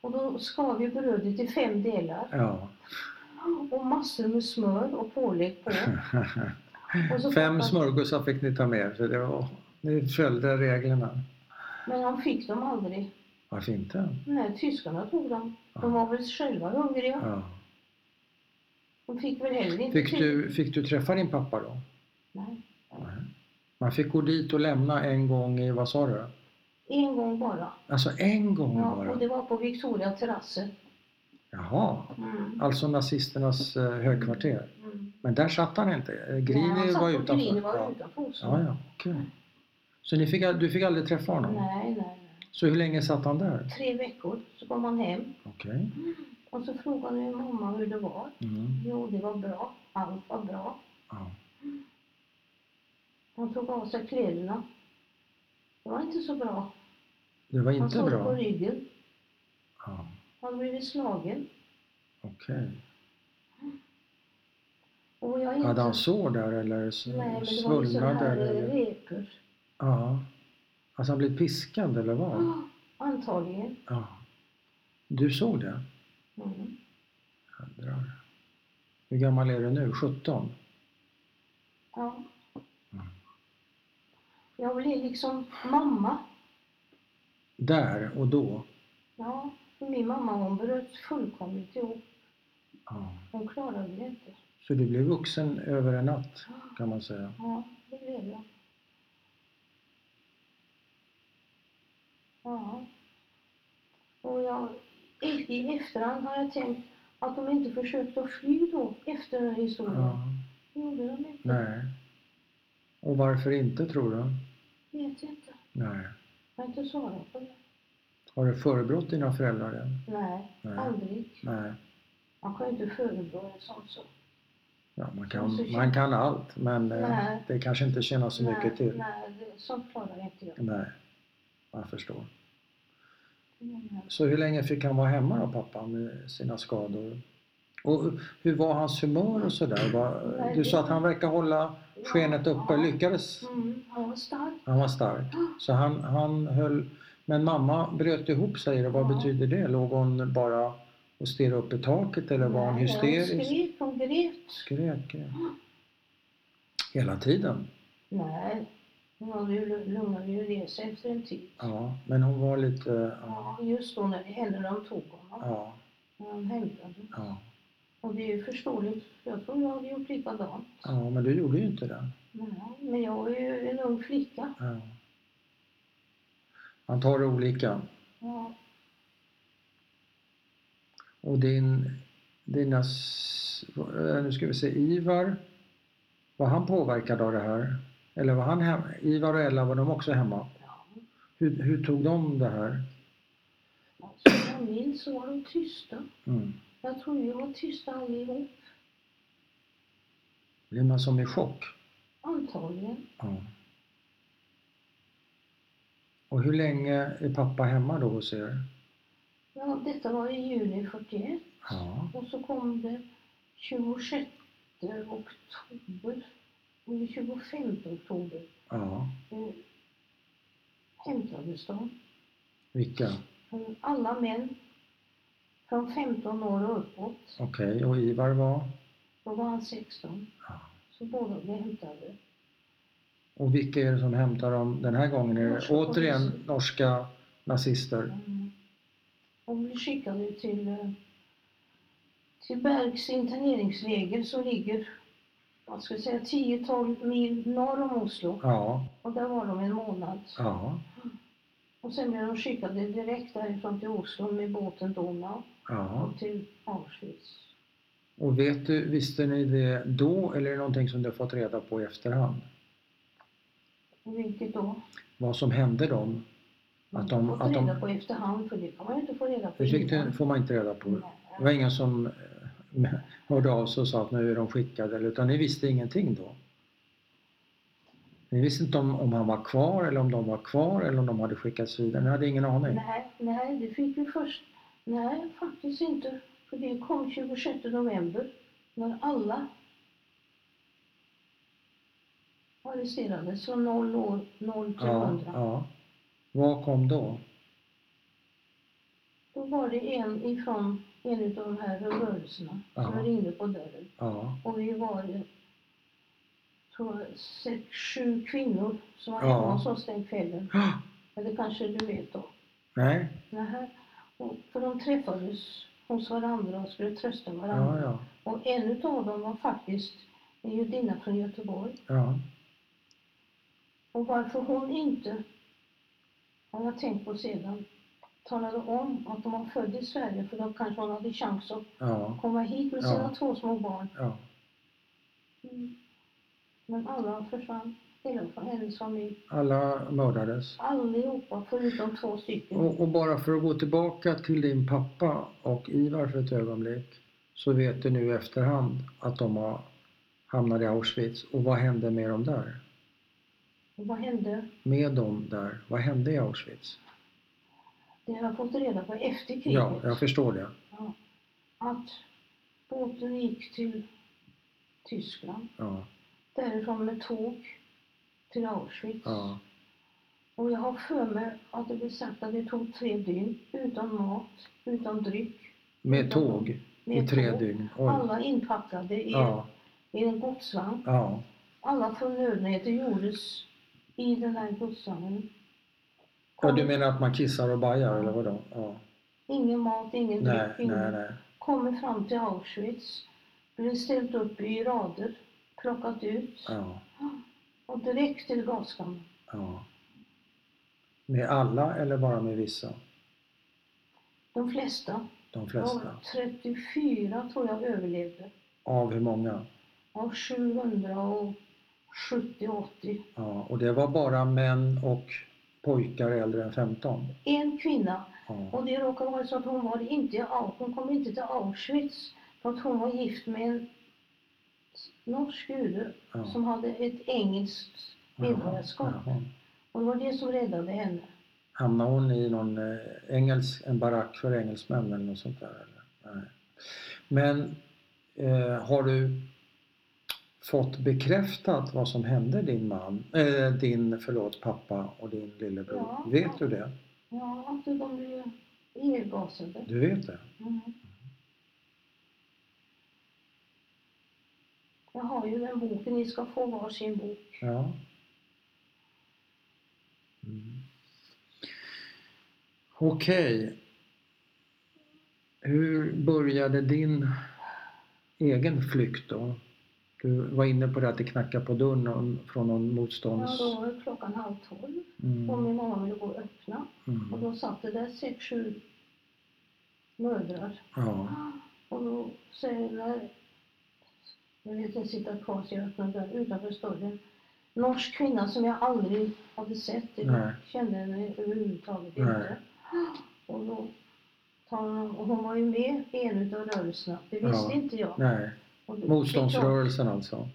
Och då skar vi brödet i fem delar
ja.
och massor med smör och pålägg på. Och så
Fem
pappa-
smörgåsar fick ni ta med så det var... Ni följde reglerna.
Men han fick dem aldrig.
Varför inte?
Nej, tyskarna tog dem. De var väl själva hungriga.
Ja.
De fick väl heller inte
Fick, du, fick du träffa din pappa då?
Nej,
Nej. Man fick gå dit och lämna en gång i, vad sa du?
en gång bara.
Alltså en gång
Ja, och
bara?
det var på Victoria terrassen.
Jaha.
Mm.
Alltså nazisternas eh, högkvarter.
Mm.
Men där satt han inte. Eh, Grini
Nej, han satt
var
på
utanför.
Grini var
ja.
utanför också.
ja, ja, okej. Så ni fick, al- du fick aldrig träffa honom?
Nej, nej, nej.
Så hur länge satt han där?
Tre veckor, så kom han hem.
Okej.
Och så frågade min mamma hur det var.
Mm.
Jo, det var bra. Allt var bra.
Ja.
Han tog av sig kläderna. Det var inte så bra.
Det var
han
inte
såg på
bra?
ryggen.
Ja,
Han blev slagen.
okej.
Och jag
Hade
insåg-
han sår där eller s-
Nej, men det var ju sådana
svullnader?
här eh,
Eller?
repor.
Ja. Alltså han blev piskad eller vad?
Ah, Antagligen.
Ja. Du såg det?
Mm.
Jädrar. Hur gammal är du nu? 17?
Ja.
Mm.
Jag blev liksom mamma.
Där och då?
Ja, för min mamma hon bröt fullkomligt ihop.
Ja.
Hon klarade det inte. Ah.
Så du blev vuxen över en natt kan man säga.
Ja, det blev jag. Ja. Och jag, i i efterhand har jag tänkt att de inte försökte att fly då efter den här historien.
Ja.
Det gjorde de inte.
Nej. Och varför inte tror du?
Vet jag inte.
Nej.
Jag har inte svarat på det.
Har du förebrått dina föräldrar än?
Nej,
Nej.
aldrig.
Nej.
Man kan ju inte förebrå en sån sak.
Ja, man,
Så- så
kan,
känner-
man kan allt men eh,
Nej.
det kanske inte känns så mycket
nej,
till.
Nej, det- sånt klarar jag inte jag.
Nej. Jag förstår.
Mm.
Så hur länge fick han vara hemma då pappa med sina skador? Och hur var hans humör och sådär? Var-
Nej,
Du
det-
sa att han verkar hålla skenet uppe,
Ja.
lyckades?
Mm, han var stark.
Han var stark. Så han, han höll... Men mamma bröt ihop säger du. Vad
Ja.
betyder det? Låg hon bara och stirrade upp i taket eller var hon
Nej, Hon
hysterisk?
skrek, hon grät.
Skrek, grät. Hela tiden?
Nej, hon lu- lugnade ju ner sig efter en tid.
Ja, men hon var lite... Ja,
Ja, just då när det hände när de tog honom.
ja,
När de hämtade.
ja.
Och det är ju förståeligt. Jag tror jag hade gjort likadant.
ja men du gjorde ju inte det.
Nej, men jag är ju en ung flicka.
Ja. Man tar det olika.
Ja,
Och din... Dina... s- eh, Nu ska vi se. Ivar. Var han påverkad av det här? Eller var han hemma? Ivar och Ella, var de också hemma?
ja.
Hur, hur tog de det här?
Alltså, jag minns så var de tysta.
Mm.
Jag tror vi var tysta allihop.
Blir man som i chock?
Antagligen.
Ja. Och hur länge är pappa hemma då hos er?
Ja, detta var i juni 41.
Ja.
Och så kom det 26 oktober. Och 25 oktober
Ja.
eh, hämtades de.
Vilka?
Från alla män från 15 år och uppåt.
Okej, och Ivar var?
Då var han 16.
Ja.
Så båda blev hämtade.
Och vilka är det som hämtar dem den här gången? Är det
Norska
återigen
polisen.
norska nazister?
Mm. De blev skickade till, eh, till Bergs interneringsläger som ligger jag skulle säga 10-12 mil norr om Oslo.
Ja.
Och där var de en månad.
Ja.
Och sen blev de skickade direkt därifrån till Oslo med båten Donau
Ja.
och till Auschwitz.
Och vet du, visste ni det då eller är det någonting som du har fått reda på i efterhand?
Vilket då?
Vad som hände dem? Att de-
fått
att de-
reda på efterhand för det kan man ju inte få reda på
Det fick
innan.
det får man inte reda på. Det
Nej.
var ingen som eh, [LAUGHS] hörde av sig och sa att nu är de skickade, eller- utan ni visste ingenting då? Ni visste inte om, om han var kvar, eller om de var kvar, eller om de hade skickats vidare? Ni hade ingen aning?
Nej, nej, det fick vi först. Nej, faktiskt inte. För det kom 26 november när alla arresterades från 0 år 0 till
ja,
100.
ja. Vad kom då?
Då var det en ifrån en av de här rörelserna som
Ja.
ringde på dörren.
Ja, [GASPS]
Och vi var eh, tror jag, sex, sju kvinnor som var
Ja.
hemma hos oss den kvällen.
Ah,
Eller kanske du vet då.
nej,
Nähä. Och, för de träffades hos varandra och skulle trösta varandra.
ja, ja,
Och en utav dem var faktiskt en judinna från Göteborg.
ja,
Och varför hon inte, har jag tänkt på sedan, talade om att de var född i Sverige för då kanske hon hade chans att
ja,
komma hit med sina
Ja.
två små barn.
ja.
Mm. Men alla försvann, hela från hennes familj.
Alla mördades.
Allihopa förutom två stycken.
Och, och bara för att gå tillbaka till din pappa och Ivar för ett ögonblick så vet du nu i efterhand att de har hamnade i Auschwitz. Och vad hände med dem där?
Och vad hände?
Med dem där, vad hände i Auschwitz?
Det har jag fått reda på efter kriget.
Ja, jag förstår det.
Ja. Att båten gick till Tyskland.
Ja,
Därifrån med tåg till Auschwitz.
ja,
Och jag har för mig att det blev sagt att det tog tre dygn utan mat, utan dryck.
Med tåg i
med
tre
tåg.
dygn. Oj.
Alla inpackade i,
Ja,
i en godsvagn.
ja.
Alla förnödenheter gjordes i den här godsvagnen.
ja. Du menar att man kissar och bajar eller vadå? Ja.
Ingen mat, ingen
Nej,
dryck,
nej,
ingen
nej.
kommer fram till Auschwitz, blir ställt upp i rader, plockat ut
Ja,
och direkt till gaskammaren.
ja. Med alla eller bara med vissa?
De flesta,
De
de
flesta.
34 tror jag överlevde,
Av hur många?
av 770-80.
Ja, och det var bara män och pojkar äldre än 15?
En kvinna,
Ja,
och det råkar vara så att hon var inte i Au- hon kom inte till Auschwitz för att hon var gift med en norsk jude
ja.
som hade ett engelskt medborgarskap.
Jaha.
Och det var det som räddade henne.
Hamnade hon i någon eh, engelsk, en barack för engelsmän eller något sånt där? Eller? Nej. Men eh, har du fått bekräftat vad som hände din man, eh, din, förlåt, pappa och din lillebror?
Ja.
Vet du det?
Ja, alltså de blev irrgasade.
Du vet det?
Mm. Jag har ju den boken, ni ska få varsin bok.
Ja. Mm. Okej. Hur började din egen flykt då? Du var inne på det att det knackade på dörren och- från någon
Ja,
motstånds...
då var det klockan halv tolv och
Mm.
min mamma ville gå och öppna. Och
Mm.
då satt det där sex, sju mödrar.
Ja.
Och då säger den där, jag vet inte, sitta kvar så jag öppnade dörren utanför störren. Norsk kvinna som jag aldrig hade sett, jag
Nej.
kände henne överhuvudtaget
Nej.
inte. Och då tar hon, och hon var ju med i en utav rörelserna, det
Ja.
visste inte jag.
Nej.
Och då-
Motståndsrörelsen alltså.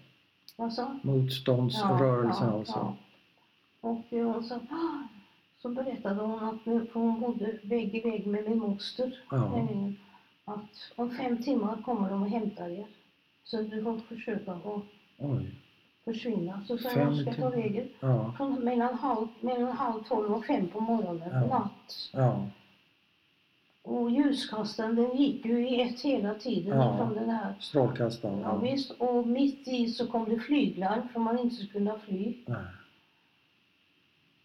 Vad sa hon?
Motståndsrörelsen alltså.
ja. Och eh, hon sa, "Ah!" så berättade hon att nu- för hon bodde vägg i vägg med min moster.
Ja.
nämligen Att om fem timmar kommer de och hämtar er. Så du får försöka att
Oj.
försvinna. Så sa
Fem
jag, "Vart ska jag ta
timmar."
vägen?
Ja.
Från mellan halv, mellan halv tolv och fem på morgonen,
Ja.
natt.
Ja.
Och ljuskastaren den gick ju i ett hela tiden
Ja.
ifrån den här.
Strålkastaren.
Ja,
Ja.
visst, och mitt i så kom det flyglarm för man inte skulle kunna fly.
Nej.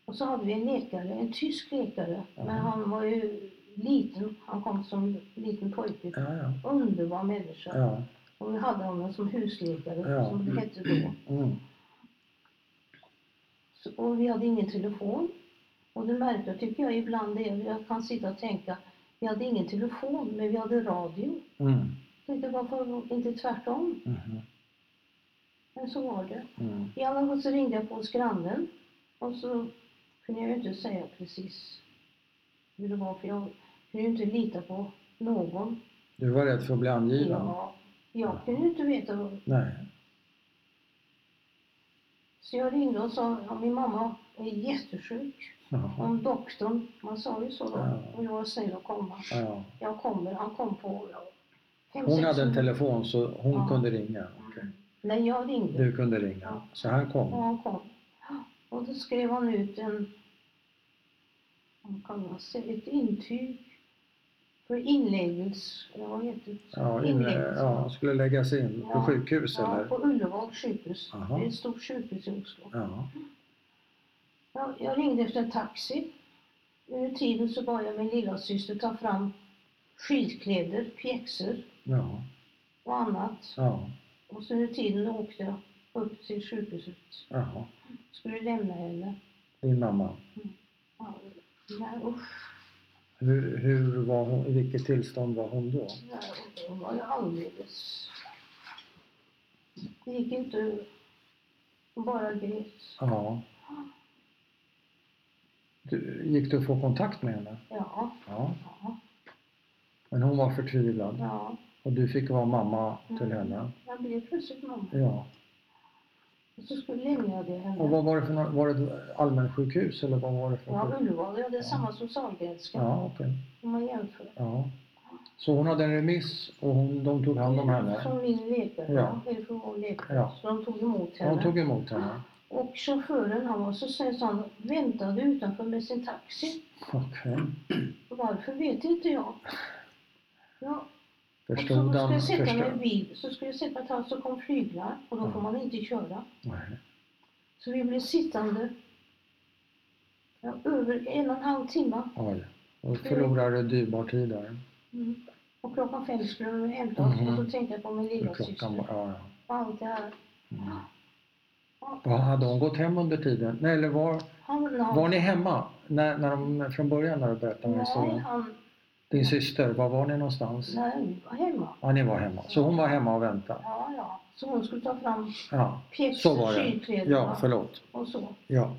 Och så hade vi en läkare, en tysk läkare,
Ja.
men han var ju liten, han kom som liten pojke.
Ja, ja.
Underbar människa.
Ja.
Och vi hade honom som husläkare,
Ja.
som det hette då.
Mm.
Så, och vi hade ingen telefon. Och det märkliga tycker jag ibland är, jag kan sitta och tänka, vi hade ingen telefon, men vi hade radio.
Mm.
Jag tänkte varför inte tvärtom?
Mhm.
Men så var det.
Mm.
I alla fall så ringde jag på hos grannen och så kunde jag ju inte säga precis hur det var för jag kunde ju inte lita på någon.
Du var rädd för att bli angiven?
Jag, jag kunde ju inte veta. vad-
Nej.
Så jag ringde och sa att min mamma är jättesjuk.
Jaha.
Om doktorn, man sa ju så då,
Ja.
och jag var snäll att komma.
Ja.
Jag kommer, han kom på ja, fem,
Hon
sex
hade en
minuter.
telefon så hon
Ja.
kunde ringa. Okej.
Nej, jag ringde.
Du kunde ringa.
Ja.
Så han
Och
kom.
han kom. Och då skrev han ut en, vad kallas det, ett intyg för inläggelse. eller Vad heter det?
Ja, in,
Inläggelse.
ja, skulle läggas in på
Ja.
sjukhus
Ja,
eller?
på Ullevål sjukhus.
Jaha.
Det är ett stort sjukhus i Oslo.
Ja.
Jag, jag ringde efter en taxi. Under tiden så bad jag min lilla syster ta fram skidkläder, pjäxor
Ja.
och annat.
Ja.
Och så under tiden åkte jag upp till sjukhuset.
Jaha.
Skulle lämna henne.
Din mamma.
Ja, nej, usch.
Hur, hur var hon, i vilket tillstånd var hon då?
Nej, hon var ju alldeles... Det gick inte ur. Hon bara grät.
Ja. Du, gick du att få kontakt med henne?
Ja,
Ja.
ja,
Men hon var förtvivlad
ja.
och du fick vara mamma till
Mm.
henne?
Jag blev plötsligt mamma.
Ja.
Och så skulle lämnade jag
Och
henne.
vad var det för något- var det ett allmänsjukhus eller vad var det för
Ja,
sjukhus?
Ullevåla, ja, det är samma som Sahlgrenska.
Ja, okej.
Om man jämför.
Ja. Så hon hade en remiss och hon, de tog hand om henne?
Från min läkare,
Ja.
ja. Eller från vår läkare.
Ja.
Så de tog emot
Ja, De
henne.
tog emot henne?
Och chauffören han var så sen han väntade utanför med sin taxi.
Okej.
Varför vet inte jag. Ja, och
Förstod
så skulle
han?
jag sätta mig i
Förstod.
bil, så skulle jag se på att han så kom flyglar och då får
Ja.
man inte köra.
Nej.
Så vi blev sittande ja, över en och en halv timme.
Oj. Då förlorade du dyrbar tid där.
Mm. Och klockan fem skulle de hämta oss
Mhm.
och då tänkte jag på min
Hur Klockan var...
lillasyster
Ja, ja.
och allt det här.
Mm.
Ja,
Vad Hade hon gått hem under tiden? Nej, eller var,
han,
var
han,
ni hemma när, när de, från början när du berättade om
nej,
historien?
han,
Din syster, var var ni någonstans?
nej, vi var hemma.
Ja, ni var hemma. Så hon var hemma och väntade?
Ja, ja. Så hon skulle ta fram
Ja,
pjäxor,
så var det. Ja,
kylkläderna
förlåt.
och så.
Ja.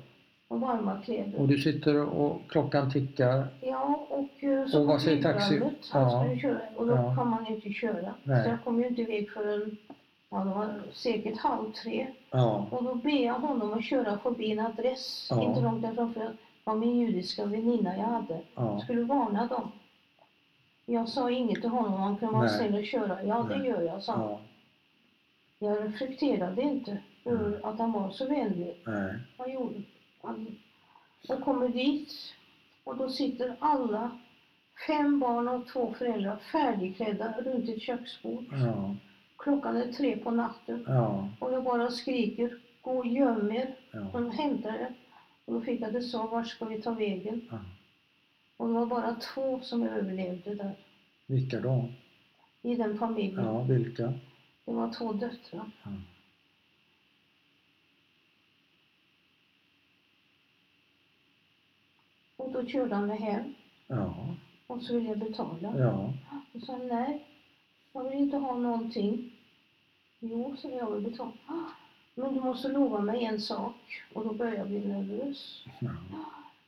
Och varma kläder.
Och du sitter och klockan tickar.
Ja, och eh, så
Och vad säger taxi?
flygplanet. Han
Ja.
skulle köra och då
Ja.
kan man ju inte köra.
Nej.
Så jag kom ju inte iväg förrän ja, det var säkert halv tre.
Ja.
Och då ber jag honom att köra förbi en adress,
Ja.
inte långt därifrån, för det var min judiska väninna jag hade. Jag
ja.
skulle varna dem. Jag sa inget till honom, han kunde vara
Nej.
snäll och köra. Ja, det
Nej.
gör jag, sa han.
ja.
Jag reflekterade inte över
Mm.
att han var så vänlig.
Nej.
Han gjorde han, jag kommer dit och då sitter alla, fem barn och två föräldrar, färdigklädda runt ett köksbord.
Ja.
Klockan är tre på natten
Ja.
och jag bara skriker, gå och göm er.
Ja.
De hämtade det. och då fick jag det så, vart ska vi ta vägen?
ja.
Och det var bara två som överlevde där,
Vilka då?
i den familjen.
Ja, vilka?
Det var två döttrar.
Ja.
Och då körde han mig hem
Ja.
och så ville jag betala.
Ja.
Och sa han, nej, jag vill inte ha någonting. Jo, så jag vill betala. "Ah, Men du måste lova mig en sak. Och då började jag bli nervös.
ja.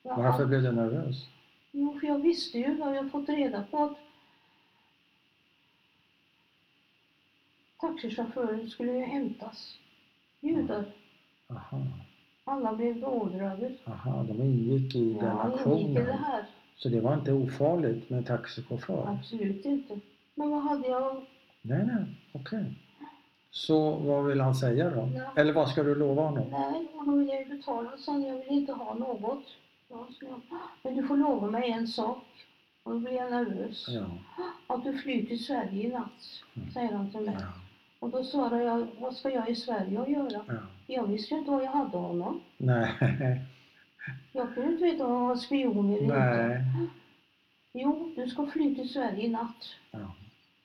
Jag
Varför
hade,
blev du nervös?
jo, för jag visste ju vad jag fått reda på att taxichauffören skulle ju hämtas. Judar,
Aha.
alla blev beordrade.
Aha, de ingick i den
Ja, ingick i det
aktionen.
här.
Så det var inte ofarligt med taxichaufför?
Absolut inte. Men vad hade jag
Nej, nej, okej. Så vad vill han säga då?
Ja.
Eller vad ska du lova honom?
Nej, och då vill jag ju betala sen. Jag vill inte ha något. Ja, så jag, men du får lova mig en sak. Och då blir jag nervös.
Ja,
Att du flyr till Sverige i natt,
Mm.
säger han till mig.
ja,
Och då svarar jag, vad ska jag i Sverige och göra?
ja.
Jag visste ju inte vad jag hade honom.
Nej,
Jag kunde inte veta om han var spion eller inte.
nej.
Jo, du ska fly till Sverige i natt.
Ja.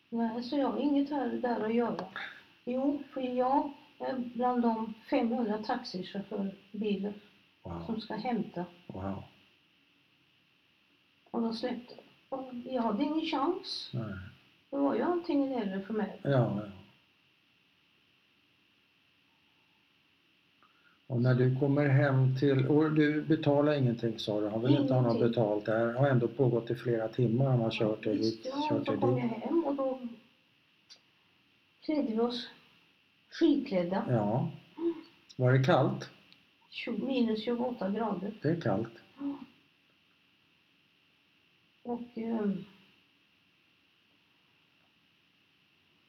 Nej, så jag har inget här, där att göra. Jo, för jag är bland de 500 taxichaufförbilar
Wow,
som ska hämta
wow.
Och de släppte. Och Jag hade ingen chans.
Nej.
Det var ju antingen eller för mig.
Ja, ja. Och när du kommer hem till... Och du betalar ingenting sa du, han vill inte ha något
Ingenting.
betalt. Det här har ändå pågått i flera timmar, han har kört dig hit,
Ja,
kört
då
dig
kom jag
dit.
hem och då klädde vi oss skidklädda.
Ja. Var det kallt?
Tjo- Minus 28 grader.
Det är kallt.
Och, ehm,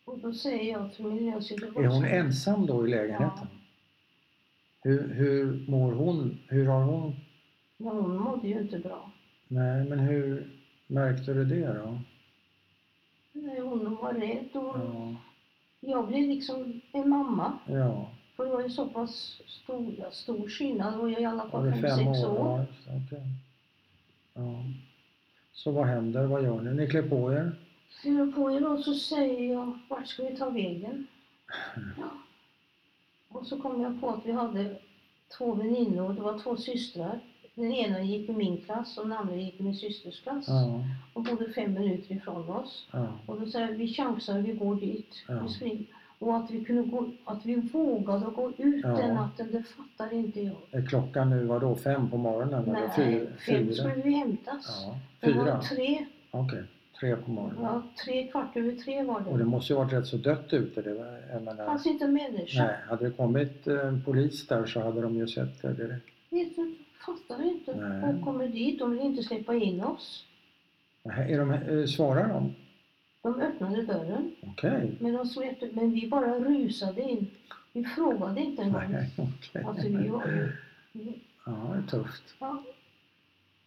och då säger jag till min lillsyster...
Är hon ensam då i lägenheten? Hur, hur mår hon? Hur har hon?
Ja, hon mådde ju inte bra.
Nej, men hur märkte du det då?
Nej, Hon var rädd och
Ja,
jag blev liksom en mamma.
ja.
För det var ju så pass stor, ja, stor skillnad. Det var ju i alla
Var
fall
det
fem
fem
sex
år?
år.
Ja, just det, okej. ja. Så vad händer? Vad gör ni? Ni klär på er?
Fyller på er och så säger jag, vart ska vi
[LAUGHS]
ta vägen? Ja. Och så kom jag på att vi hade två väninnor, det var två systrar. Den ena gick i min klass och den andra gick i min systers klass.
Ja,
Och bodde fem minuter ifrån oss.
ja,
Och då säger jag, vi chansar, vi går dit.
Ja.
Vi springer. Och att vi, kunde gå, att vi vågade gå ut
Ja.
den natten, det fattar inte jag.
Är klockan nu vadå? Fem på morgonen? eller
Nej,
fyra?
fem
fyra?
skulle vi hämtas.
Ja,
Det var
fyra?
tre,
Okej, tre på morgonen.
ja, tre kvart över tre var
Och det
det.
måste ju varit rätt så dött ute. Det var, jag
Det
menar,
fanns inte en människa.
Nej, hade det kommit eh, en polis där så hade de ju sett det direkt.
Vet du, fattar inte.
Nej.
Hon kommer dit, de vill inte släppa in oss.
Nej, Är de, eh, svarar de?
De öppnade dörren,
Okej.
men, de släppte, men vi bara rusade in. Vi frågade inte en gång.
Nej, okej.
Alltså, vi var ju... vi-
Ja, det är tufft.
Ja.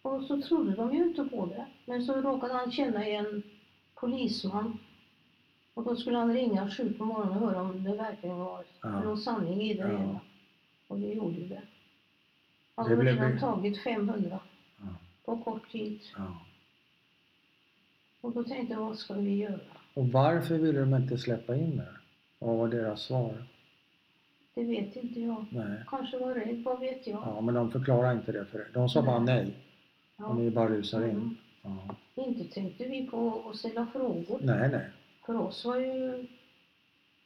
Och så trodde de ju inte på det. Men så råkade han känna en polisman. Och då skulle han ringa sju på morgonen och höra om det verkligen var
Ja.
någon sanning i det
Ja.
hela. Och det gjorde ju det. Han
Det
hade
blev
redan
det.
tagit 500
Ja,
på kort tid.
ja.
Och då tänkte jag, vad ska vi göra?
Och varför ville de inte släppa in er? Vad var deras svar?
Det vet inte jag.
Nej.
Kanske var rädd, vad vet jag?
Ja, men de förklarar inte det för er. De sa bara nej.
Ja.
Och ni bara rusar
Mm.
in. Ja.
Inte tänkte vi på att ställa frågor.
Nej, nej.
För oss var ju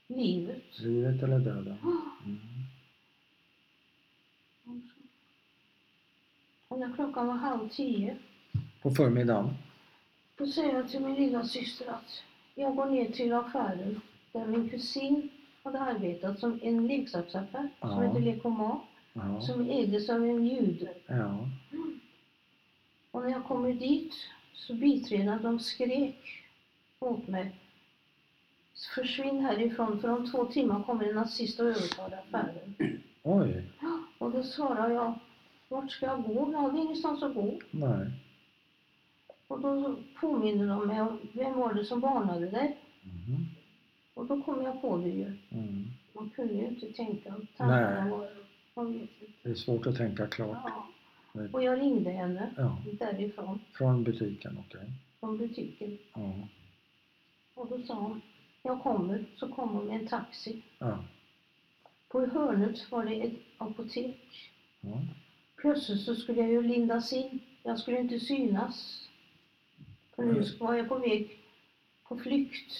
livet.
Livet eller döden. Mm.
Och när klockan var halv tio,
På förmiddagen.
då säger jag till min lilla syster att jag går ner till affären där min kusin hade arbetat som en leksaksaffär som
Ja.
hette Lekoma,
Ja.
som ägdes av en jude.
Ja.
Och när jag kommer dit så biträdena de skrek mot mig. Försvinn härifrån för om två timmar kommer en nazist och övertar affären.
Oj.
Och då svarar jag, vart ska jag gå? Jag har ingenstans att gå.
Nej.
Och då påminner de mig om, vem var det som varnade dig?
Mm.
Och då kom jag på det ju.
Mm.
Man kunde ju inte tänka.
Nej.
Tankarna var... Man vet inte.
Det är svårt att tänka klart.
Ja.
Nej.
Och jag ringde henne
Ja.
därifrån,
Från butiken, okej.
från butiken.
Ja.
Och då sa hon, jag kommer. Så kom hon med en taxi.
Ja.
På hörnet var det ett apotek.
ja.
Plötsligt så skulle jag ju lindas in. Jag skulle inte synas. För nu
Mm.
var jag på väg på flykt.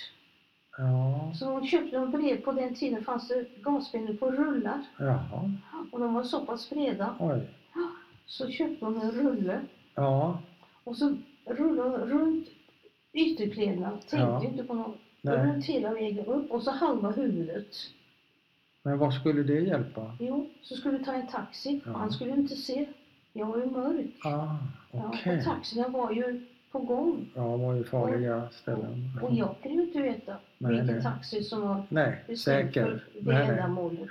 Ja.
Så hon köpte en brev. På den tiden fanns det gaspennor på rullar.
Jaha.
Och de var så pass breda.
Oj.
Så köpte hon en rulle
Ja.
och så rullade hon runt ytterkläderna. Tänkte
Ja.
inte på något.
Nej.
Runt hela vägen upp och så halva huvudet.
Men vad skulle det hjälpa?
Jo, så skulle vi ta en taxi.
Ja.
Han skulle inte se. Jag var ju mörk.
Ah, okej.
och taxierna var ju på gång.
Ja, det var ju farliga ställen.
Och jag kunde ju inte veta
Mm. Nej,
vilken
nej.
taxi som var
Nej,
bestämd
säker.
för det
Nej, nej.
ändamålet.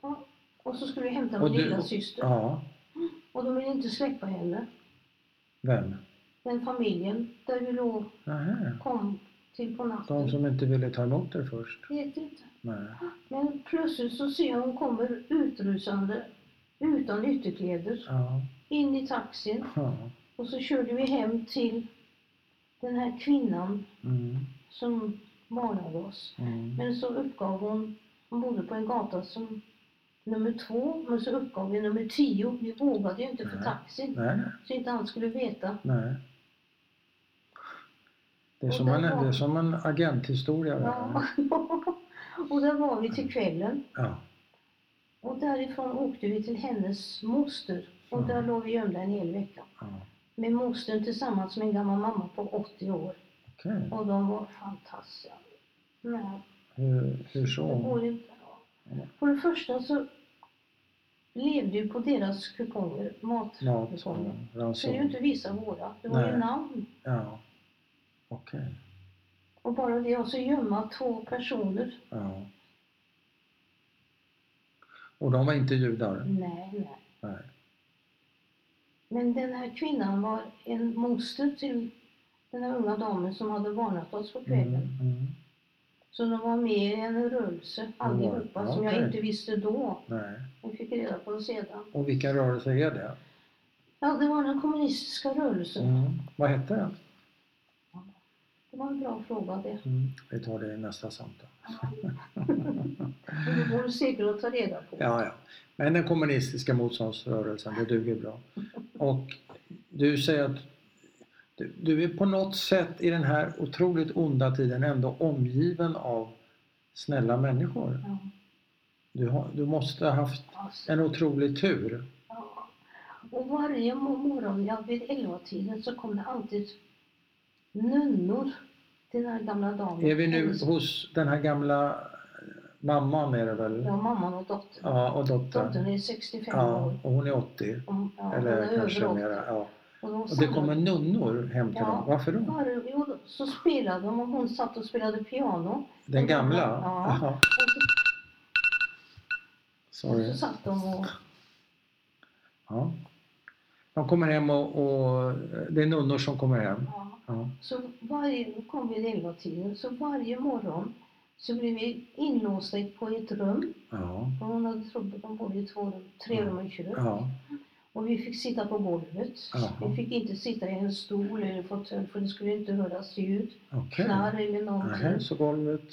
Ja. Och så skulle vi hämta
Och
min
du-
lilla syster.
Ja,
Och de ville inte släppa henne.
vem?
Den familjen där vi låg
Nähä.
kom till på natten.
De som inte ville ta emot er först?
Vet inte.
Nej.
Men plötsligt så ser jag hon kommer utrusande utan ytterkläder
Ja.
in i taxin
ja.
och så körde vi hem till den här kvinnan
Mm.
som varnade oss.
Mm.
Men så uppgav hon, hon bodde på en gata som nummer två, men så uppgav vi nummer tio. Vi vågade ju inte för
Nej.
taxin,
Nej,
så inte han skulle veta.
nej. Det är
Och
som
där
en,
var-
det är som en agenthistoria. det
Ja. [LAUGHS]
här.
och där var vi till kvällen.
Ja.
Och därifrån åkte vi till hennes moster och där
Mm.
låg vi gömda en hel vecka.
ja.
Med mostern tillsammans med en gammal mamma på 80 år.
Okej.
Och de var fantastiska. Nej,
Hur, hur
det
så?
går inte.
Mm.
För det första så levde ju på deras kuponger,
Mat
matkuponger.
och
Så det är ju
ranson.
inte visa våra, det var ju
Nej.
namn.
Ja. Okej.
Och bara det, och så gömma två personer.
Ja. Och de var inte judar?
Nej, nej.
Mm. Nej.
Men den här kvinnan var en moster till den här unga damen som hade varnat oss på kvällen.
Mm. Mm.
Så de var med i en rörelse allihopa
Ja,
som
okej.
jag inte visste då.
Nej.
Jag fick reda på det sedan.
Och vilken rörelse är det?
Ja, det var den kommunistiska rörelsen.
Mm. Vad hette den?
Det var en bra fråga det.
Mm. Vi tar det i nästa samtal.
Och Det vore säkert att ta reda på.
Ja, ja. Men den kommunistiska motståndsrörelsen, det duger bra. Och du säger att du, du är på något sätt i den här otroligt onda tiden ändå omgiven av snälla människor.
Ja,
Du, har, du måste ha haft
alltså,
en otrolig tur.
ja. Och varje mo- morgon ja, vid elvatiden så kom det alltid nunnor till den här gamla damen.
Är vi nu
Hennes-
hos den här gamla mamman är det väl?
Ja, mamman och dottern.
Ja, och dottern.
Dottern är 65
Ja,
år.
och hon är 80.
Hon, ja, hon
Eller
är
kanske
över
mera.
80.
Ja.
Och de
Och det kommer nunnor hem till
Ja.
dem. Varför då?
Var, jo, då- så spelade de och hon satt och spelade piano.
Den gamla?
Ja.
Jaha.
Och så, Och
Sorry.
så satt de och...
Ja. De kommer hem och, och det är nunnor som kommer hem.
Ja.
Ja.
Så varje, då kom vi vid elvatiden, så varje morgon så blev vi inlåsta i- på ett rum.
Ja.
För hon hade trott att de bodde i två rum, tre rum och ett kök.
Mm. Ja.
Och vi fick sitta på golvet.
Jaha.
Vi fick inte sitta i en stol eller fåtölj för det skulle inte höras ljud,
Okej.
knarr eller någonting.
Nähä, så golvet.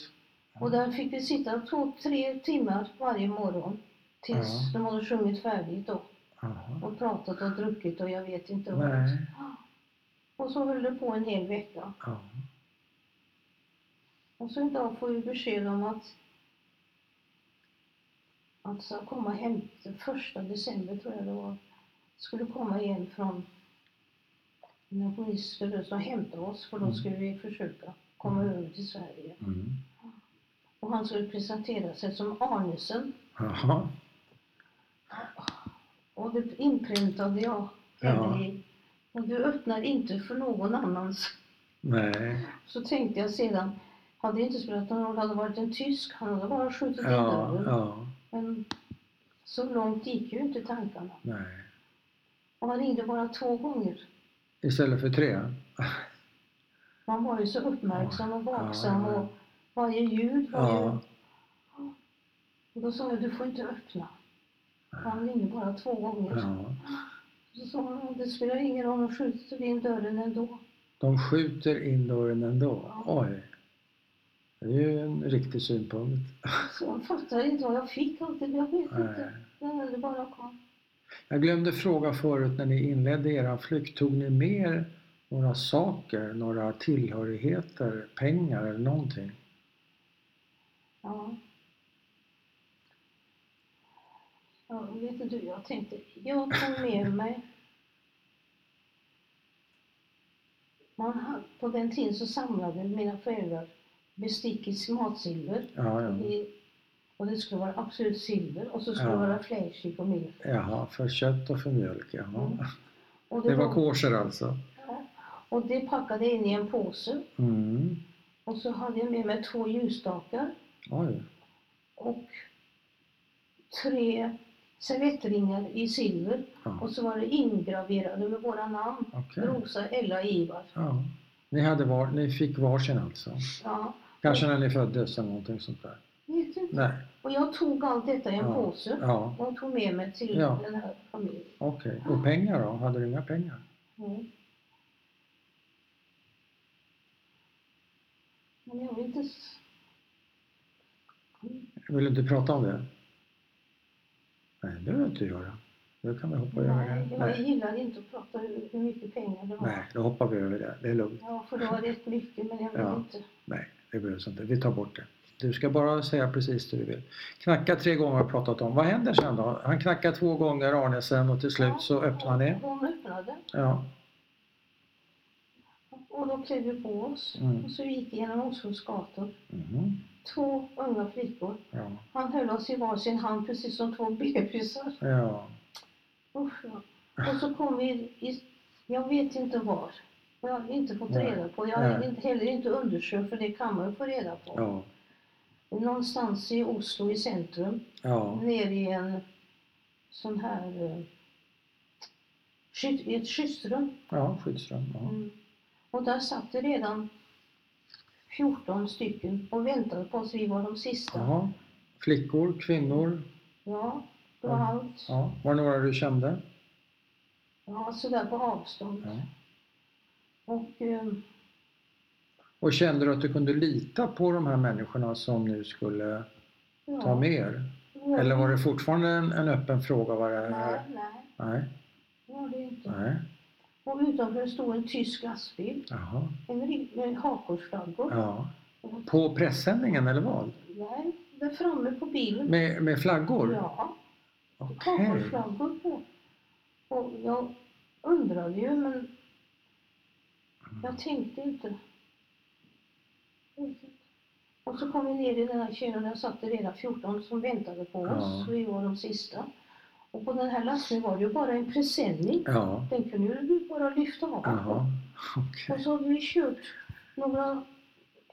Och där fick vi sitta två, tre timmar varje morgon. Tills
Ja.
de hade sjungit färdigt då.
Jaha.
Och pratat och druckit och jag vet inte vad.
Nej.
Och så höll det på en hel vecka.
Ja.
Och så idag får vi besked om att att så komma hem den första december tror jag det var. Skulle komma igen från när polis skulle så hämta oss för då
Mm.
skulle vi försöka komma
Mm.
över till Sverige.
Mm.
Och han skulle presentera sig som Arnesen
Jaha.
och det inpräntade jag
Ja.
henne i. Och du öppnar inte för någon annans.
Nej.
Så tänkte jag sedan, hade det inte spelat någon roll, hade det varit en tysk, han hade bara skjutit in
Ja.
dörren.
Ja.
Men så långt gick ju inte tankarna.
Nej.
Och man ringde bara två gånger.
Istället för tre?
Man var ju så uppmärksam och vaksam
Ja, ja.
och varje ljud var ju...
Ja.
Och då sa jag, du får inte öppna. Han ringde bara två gånger.
ja.
Så sa hon, det spelar ingen roll, de skjuter in dörren ändå.
De skjuter in dörren ändå?
Ja.
Oj. Det är ju en riktig synpunkt.
Så jag fattade inte vad jag fick alltid, jag vet
Nej.
inte. Nej, Det bara kom.
Jag glömde fråga förut när ni inledde era flykt, tog ni med er några saker, några tillhörigheter, pengar eller någonting?
Ja. Ja, vet inte du, jag tänkte, jag tog med mig... Man hade, på den tiden så samlade mina föräldrar bestick i matsilver.
Ja, ja.
I, och det skulle vara absolut silver och så skulle det
Ja.
vara fläskig och mjöl.
Jaha, för kött och för mjölk,
Mm.
jaha.
Och
Det var kosher alltså?
ja. Och det packade jag in i en påse.
Mm.
Och så hade jag med mig två ljusstakar.
Oj.
och tre servettringar i silver
Ja.
och så var det ingraverade med våra namn.
Okej.
Rosa, Ella, Ivar.
Ja. Ni, hade var, ni fick varsin alltså?
Ja,
Kanske när ni föddes eller någonting sånt där?
vet inte.
Nej.
Och jag tog allt detta i en
Ja.
påse
Ja,
och tog med mig till
Ja.
den här familjen.
okej. Och pengar då? Hade du inga pengar?
Mm. Men jag vet inte... s-
Vill du inte prata om det? Nej, det behöver du inte göra. Det kan vi hoppa över.
Nej,
det.
jag
Nej.
gillar inte att prata hur hur mycket pengar det var.
Nej, då hoppar vi över det. Det är lugnt.
Ja, för det var rätt mycket men jag vill
Ja.
inte...
Nej, det behövs inte. Vi tar bort det. Du ska bara säga precis det du vill. Knacka tre gånger har jag pratat om. Vad händer sen då? Han knackar två gånger Arnesen och till slut så öppnar han det.
Hon öppnade.
Ja.
Och de klev ju på oss.
Mm.
Och så gick vi genom Oslos gator.
Mhm.
Två unga flickor.
Ja.
Han höll oss i varsin hand precis som två bebisar.
Ja.
Usch, ja. Och så kom vi i, jag vet inte var. Och jag har inte fått
Nej.
reda på. Jag har
Nej.
inte, heller inte undersökt för det kan man ju få reda på.
Ja.
Någonstans i Oslo i centrum.
Ja.
Nere i en sån här... eh, skydd- I ett skyddsrum.
Ja, skyddsrum. Ja.
Mm. Och där satt det redan 14 stycken och väntade på oss. Vi var de sista.
Jaha. Flickor, kvinnor.
Ja, det var
Ja.
allt.
Ja. Var det några du kände?
Ja, sådär på avstånd.
Ja.
Och eh,
Och kände du att du kunde lita på de här människorna som nu skulle
ja.
ta med er?
Ja,
Eller var det fortfarande en, en öppen fråga vad det här
Mm. Nej,
är?
nej,
Nej.
det var det inte.
Nej.
Och utanför stod en tysk lastbil.
Jaha.
En ri- med hakorsflaggor.
Ja.
Och,
På pressändningen eller vad?
nej, där framme på bilen.
Med, med flaggor?
Ja,
Okej.
hakorsflaggor på. Och jag undrade ju men jag tänkte inte. Och så kom vi ner i den här kylen där satt det redan 14 som väntade på
Ja.
oss. Vi var de sista. Och på den här lasten var det ju bara en presenning.
Ja.
Den kunde ju du bara lyfta av.
Jaha. Okej.
Och så hade vi kört några,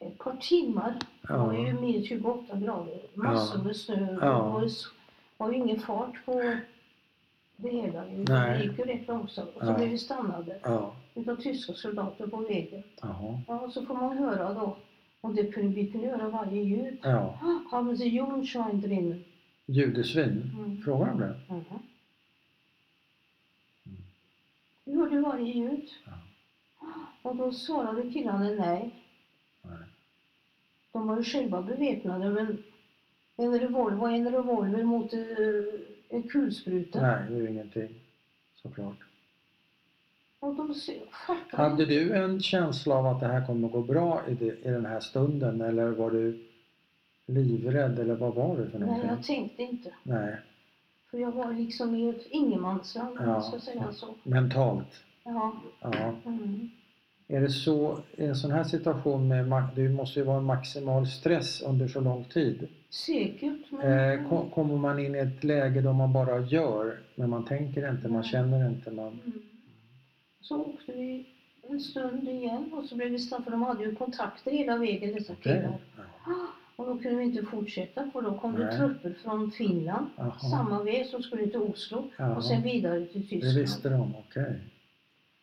ett par timmar. Det var
Ja.
ju minus 28 grader. Massor
Ja.
med snö.
Ja.
Och, och, var ju ingen fart på det hela. Det
Nej.
gick ju rätt långsamt. Och så
Ja.
blev vi stannade
Ja.
utav tyska soldater på vägen.
Jaha.
Ja, och så får man höra då. Och det kunde, vi kunde höra varje ljud.
Ja.
Ah, Haben Sie Jungschein drinnen?
Judesvin.
Mm.
Frågar de det?
Mhm. Mm. Vi hörde varje ljud.
Ja.
Och då svarade killarna nej.
Nej.
De var ju själva beväpnade men en revolver var en revolver mot eh, en kulspruta.
Nej, det är ju ingenting. Såklart.
Och de se- fattade
Hade du en känsla av att det här kommer att gå bra i, det, i den här stunden eller var du livrädd eller vad var du för
Nej,
någonting?
jag tänkte inte.
Nej,
För jag var liksom i ett ingenmansland om
Ja.
man ska säga så.
mentalt.
Ja.
Ja.
Mm.
Är det så i en sån här situation med ma- det måste ju vara en maximal stress under så lång tid.
Säkert. Men...
Eh,
Mm.
ko- kommer man in i ett läge då man bara gör men man tänker inte, man
Mm.
känner inte, man...
Mm. Så åkte vi en stund igen och så blev vi stannade för de hade ju kontakter hela vägen dessa killar.
Ja.
Och då kunde vi inte fortsätta för då kom det
Nej.
trupper från Finland
Jaha.
samma väg som skulle till Oslo
Jaha.
och sen vidare till
Det
Tyskland.
visste de, okej.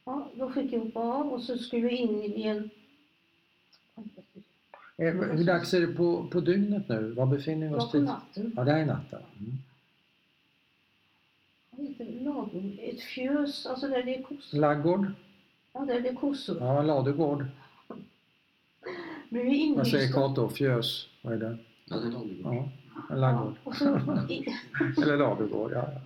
Ja, då fick jag hoppa av och så skulle vi in i en...
Eh, Hur dags är det på, på dygnet nu? Var befinner vi
Det var
oss?
på
tids-
natten.
Ja, det här är natten. Mm.
Vad heter det? Ladugård? Ett fjös, alltså där det är kossor.
Laggård?
Ja, där det är kossor.
Ja, ladugård.
Blev vi
Vad säger
inlysta.
Cato? Fjös? Vad är det?
Ja, det var det.
Ja, en
Ja,
laggård.
och, så in,
Eller ladugård, ja. ja.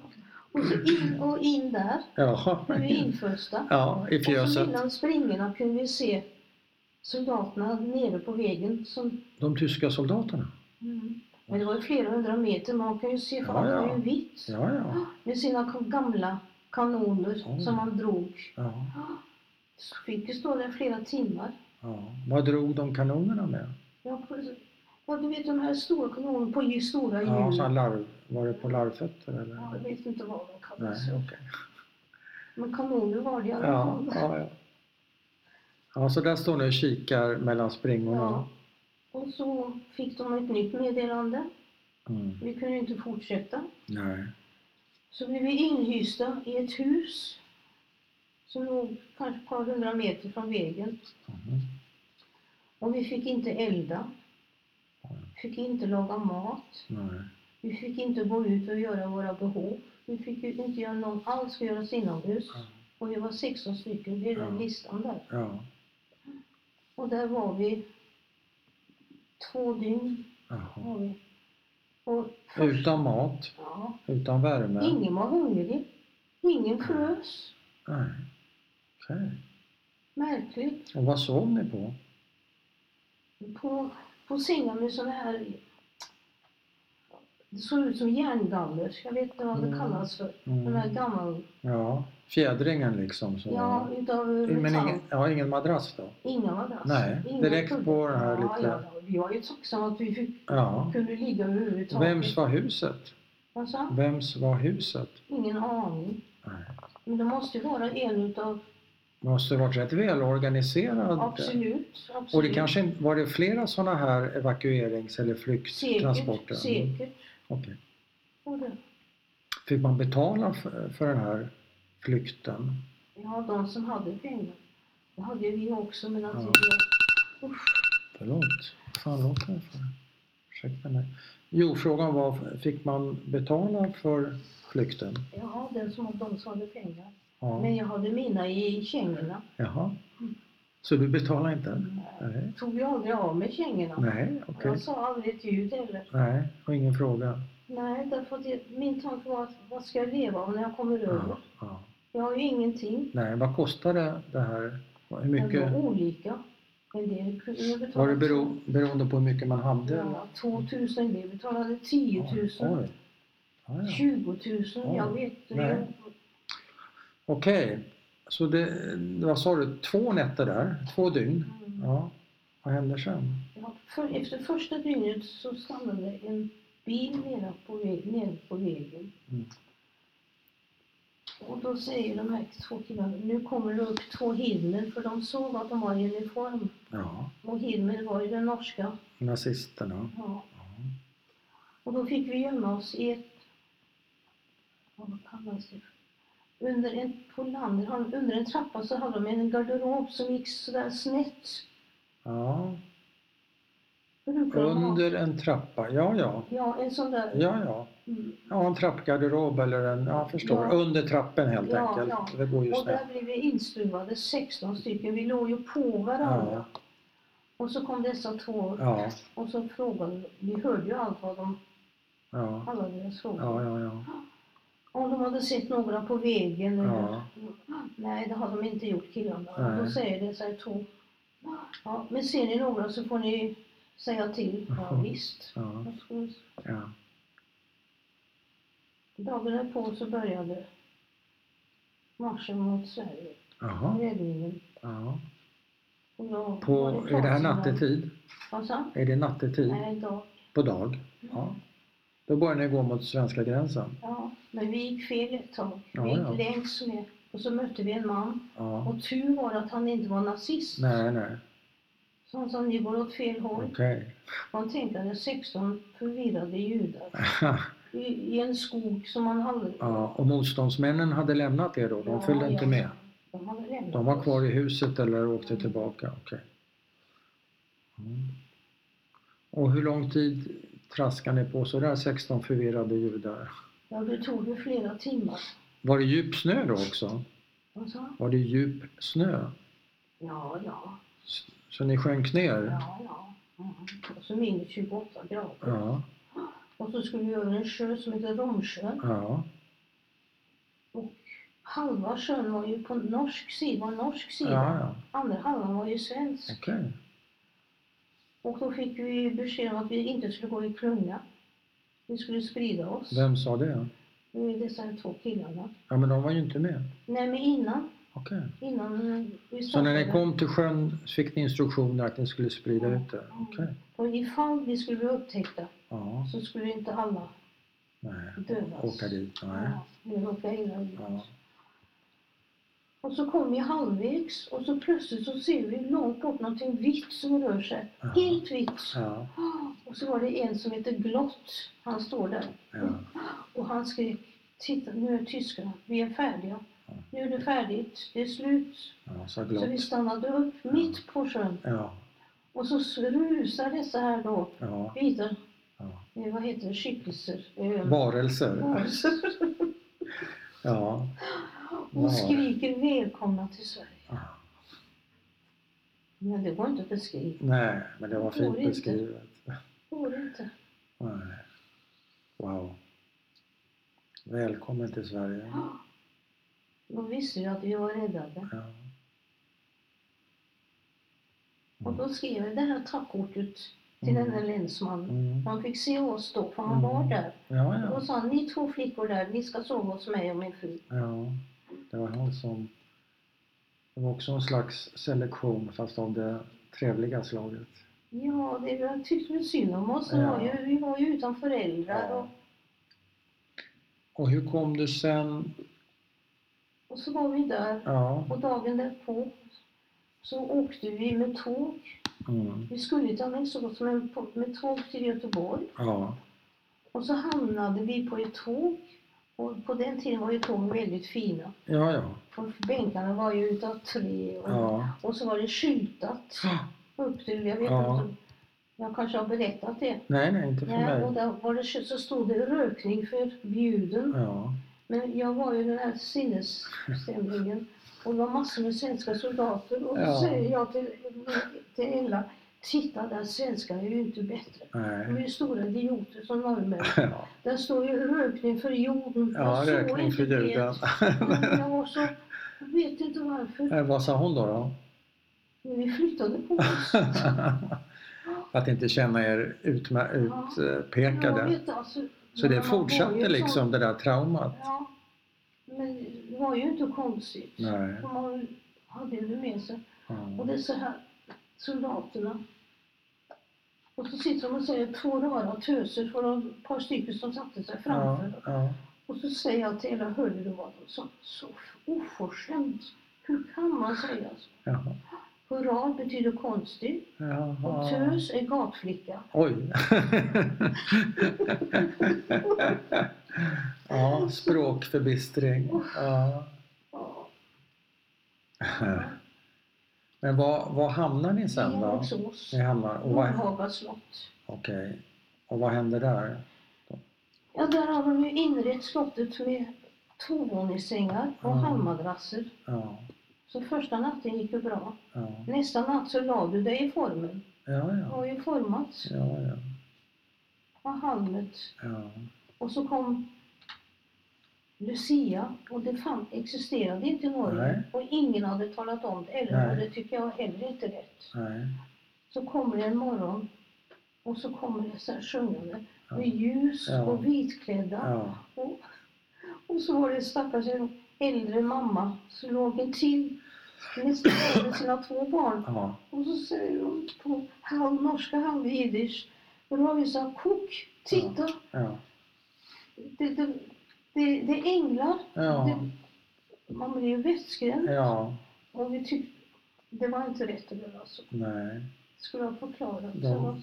och så in och in där. Blev
[LAUGHS]
vi
Jaha.
infösta.
Ja, i
Och så
fjöset.
mellan springorna kunde vi se soldaterna nere på vägen. Som,
De tyska soldaterna?
Men det var ju flera hundra meter, man kan ju se för allt
Ja, ja.
var ju vitt.
Ja, ja. [GASPS]
Med sina gamla kanoner
Oj.
som man drog.
ja,
Så fick ju stå där flera timmar.
ja. Vad drog de kanonerna med?
Jag, ja, du vet de här stora kanonerna på ju stora hjul.
Ja, så här larv, var det på larvfötter eller?
Ja, jag vet inte vad de kallas.
Nej, okej.
Men kanoner var det i alla
Ja,
fall.
ja, ja. Ja, så där står ni och kikar mellan springorna.
Ja. Och så fick de ett nytt meddelande.
Mm.
Vi kunde ju inte fortsätta.
Nej.
Så blev vi inhysta i ett hus som låg kanske ett par hundra meter från vägen.
Mhm.
Och vi fick inte elda. Fick inte laga mat.
Nej.
Vi fick inte gå ut och göra våra behov. Vi fick ju inte göra något alls för att göra oss inomhus.
Ja.
Och vi var 16 stycken, det är den
Ja.
listan där.
Ja.
Och där var vi två dygn.
Jaha.
Var vi. Och
Utan mat,
ja,
utan värme.
ingen var hungrig. Ingen frös.
Nej. Okej.
Märkligt.
Och vad sov ni på?
på, på sängar med såna här... Det såg ut som järngaller. Jag vet inte vad det
Mm.
kallas för. De här
Mm.
gammal...
Ja, fjädringen liksom. Så.
Ja, utav metall.
Men ingen, ja, ingen madrass då?
Inga madrasser.
Nej,
inga
direkt på
kuddar.
den här
ja,
lite-
Ja, ja. Vi var ju tacksamma att vi fick,
Ja.
kunde ligga överhuvudtaget.
Vems var huset?
Vad sa han?
Vems var huset?
Ingen aning.
Nej.
Men det måste ju vara en utav...
Måste ha varit rätt välorganiserad.
Absolut. absolut.
Och det kanske inte- var det flera sådana här evakuerings eller flykttransporter?
Säkert. Säkert.
Okej.
Och det-
Fick man betala för, för den här flykten?
Ja, de som hade pengar. Det hade ju vi också, men att
Ja.
vi...
Förlåt. Fan låter det för? Ursäkta mig. Jo, frågan var, fick man betala för flykten?
Ja, den som, de som hade pengar.
Ja.
Men jag hade mina i kängorna.
Jaha. Så du betalar inte? Nej.
Tog jag aldrig av mig kängorna.
Nej, okej.
Jag sa aldrig ett ljud heller.
Nej, och ingen fråga.
Nej, därför att det, min tanke var att vad ska jag leva av när jag kommer över?
Ja, ja.
Jag har ju ingenting.
Nej, vad kostade det här? Hur
Det var
mycket?
olika. En del kunde jag betala.
Var det bero, beroende på hur mycket man hade?
Ja, 2000, en del betalade 10 000.
Oj. Ja, ja.
20 000, jag
Oj.
vet. Det
Nej. Okej, så det, vad sa du, två nätter där? Två dygn?
Mm.
Ja. Vad händer sen?
Ja, för, efter första dygnet så stannade en bil nere på, vä- nere på vägen.
Mm.
Och då säger de här två killarna, nu kommer det upp två Hilmer, för de såg att de var i uniform.
Ja,
Och Hilmer var ju den norska.
nazisterna.
Ja. Och då fick vi gömma oss i ett ja, vad kallas det? Under en, på landet, han- under en trappa så hade de en garderob som gick sådär snett.
Ja.
Brukar de ha-
Under en trappa, ja ja.
Ja, en sån där.
Ja, ja.
Mm.
ja en trappgarderob eller en, ja jag förstår,
Ja.
under trappen helt
Ja,
enkelt.
ja.
Det går ju
Och
snett.
där blev vi instuvade, 16 stycken. Vi låg ju på varandra. Och så kom dessa två
Ja,
och så frågade de- vi hörde ju allt vad de,
ja,
alla deras frågor.
ja, ja, ja.
Om de hade sett några på vägen eller...
ja.
Nej, det har de inte gjort killarna.
Nej.
Då säger det så här två. Ja, men ser ni några så får ni säga till. Ja, visst.
ja,
Och så-
ja.
Dagen därpå så började marschen mot Sverige.
Jaha,
Räddningen.
ja.
Och då
På,
var
är det här
klart sedan-
nattetid?
Vad sa han?
Är det nattetid
Nej, dag.
på dag? Ja. Då börjar ni gå mot svenska gränsen?
Ja, men vi gick fel ett tag.
Ja,
vi gick
ja.
längs med. Och så mötte vi en man.
Ja.
Och tur var att han inte var nazist.
Nej, nej.
Så han sa, ni går åt fel håll.
Okej. [LAUGHS]
Man tänkte att det är 16 förvirrade judar i, i en skog som man hade.
Ja, och motståndsmännen hade lämnat er då? De följde
Ja,
inte
ja.
med?
De, hade lämnat
De var
oss.
kvar i huset eller åkte tillbaka? Okej. Mm. Och hur lång tid traskade ni på sådär 16 förvirrade judar?
Ja, det tog ju flera timmar.
Var det djup snö då också?
De sa,
Var det djup snö?
ja, ja,
S- Så ni sjönk ner?
ja, ja. Mm. Och så minus 28 grader.
Ja.
Och så skulle vi över en sjö som heter Romsjön.
Ja.
Halva sjön var ju på norsk sida, var norsk
Ja,
sida.
ja.
Andra halvan var ju svensk.
Okej.
Och då fick vi besked om att vi inte skulle gå i klunga. Vi skulle sprida oss.
Vem sa det?
Det var dessa två killarna.
Ja, men de var ju inte med.
Nej, men innan,
Okej.
innan vi
Så när
startade.
ni kom till sjön fick ni instruktioner att ni skulle sprida
Ja.
ut det? Okej.
Och ifall vi skulle bli upptäckta
Ja.
så skulle inte alla
Nej.
dödas.
Åka dit? Nej.
Ja, vi råkade illa ut.
Ja.
Och så kom vi halvvägs och så plötsligt så ser vi långt bort någonting vitt som rör sig.
Ja.
Helt vitt.
Ja.
Och så var det en som heter Glott. Han står där.
Ja.
Och han skrek, titta nu är tyskarna, vi är färdiga. Nu är det färdigt, det är slut.
Ja, så
Så vi
glatt.
stannade upp mitt på sjön
Ja.
och så s- rusar dessa här då
Ja.
vita,
ja.
eh, vad heter det, skickelser, eh,
Varelser.
varelser.
Ja.
och
Varelser.
skriker välkomna till Sverige.
Ja.
Men det går inte att beskriva,
Nej, men det var
Det går
fint
inte.
beskrivet.
det går inte.
Nej. Wow. Välkommen till Sverige.
De visste ju att vi var räddade.
Ja.
Och då skrev jag det här tackkortet till
Mm.
den här länsmannen.
Mm.
Han fick se oss då, för han
Mm.
var där.
Ja,
Och
ja.
då sa han, ni två flickor där, ni ska sova hos mig och min fru.
ja. Det var han som... Det var också en slags selektion fast av det trevliga slaget.
Ja, det jag tyckte väl synd om oss. Det
Ja.
Var ju, vi var ju utan föräldrar.
Ja.
Och,
Och hur kom du sen?
och så var vi där.
Ja.
Och dagen därpå så åkte vi med tåg.
Mm.
Vi skulle till Alingsås, men på- med tåg till Göteborg.
Ja.
Och så hamnade vi på ett tåg. Och på den tiden var ju tågen väldigt fina.
Ja, ja.
För bänkarna var ju utav tre. Och,
Ja.
och så var det skyltat upp till, jag vet
Ja.
inte, jag kanske har berättat det.
Nej, nej, inte för
Nej, och
mig.
där var det, sky- så stod det rökning förbjuden.
Ja.
Men jag var ju den här sinnesstämningen och det var massor med svenska soldater och
Ja.
så säger jag till, till Ella, titta där svenskar är ju inte bättre. De är
Nej.
ju stora idioter som norrmän.
[LAUGHS] Ja.
Där står ju rökning för jorden.
Ja,
Jag såg
rökning
inte
för
det.
juden.
Ja, Jag var så, jag vet inte varför,
Eh, Vad sa hon då? [LAUGHS] då?
men vi flyttade på oss.
Att inte känna er utma-
Jag
utpekade.
vet, alltså,
Så
man
det
var
fortsatte
ju
liksom
sån-
det där traumat?
Ja, men det var ju inte konstigt.
Nej.
Och Man hade ju det med sig. Och
Ja.
det är så här, soldaterna. Och så sitter de och säger två rara töser för de ett par stycken som satte sig framför.
Ja, ja.
Och så säger jag till hela hörde du vad de sa? Så oförskämt! Hur kan man säga så?
Jaha.
På Floral betyder konstig och
Jaha.
tös är gatflicka.
Oj! [LAUGHS] ja, språkförbistring. Ja.
Ja,
Men var, var hamnar ni sen då?
Järnvägsås,
Ni hamnar, och vad,
Nordhaga slott.
okej. och vad hände där?
Ja, där har de ju inrett slottet med tvåvåningssängar och
Mm.
halmmadrasser.
Ja,
Så första natten gick ju bra.
ja,
Nästa natt så la du dig i formen.
ja,
Det
ja,
har ju formats
ja, ja,
av halmet.
ja.
Och så kom Lucia och det fan, existerade inte i Norge.
Nej.
Och ingen hade talat om det
Nej.
eller och det tycker jag heller inte är rätt.
nej,
Så kommer det en morgon och så kommer det så här sjungande
Ja.
med ljus
Ja.
och vitklädda.
ja,
Och, och så var det stackars en äldre mamma som låg intill nästan med sina två barn.
ja,
Och så säger hon på halv norska, halv jiddisch. Och då har vi så här, kok, titta,
ja,
det, det, det, det är änglar.
ja,
Det, man blir ju vettskrämd.
ja,
Och vi tyckte, det var inte rätt att göra så.
nej.
Skulle ha förklarat.
De-
Så,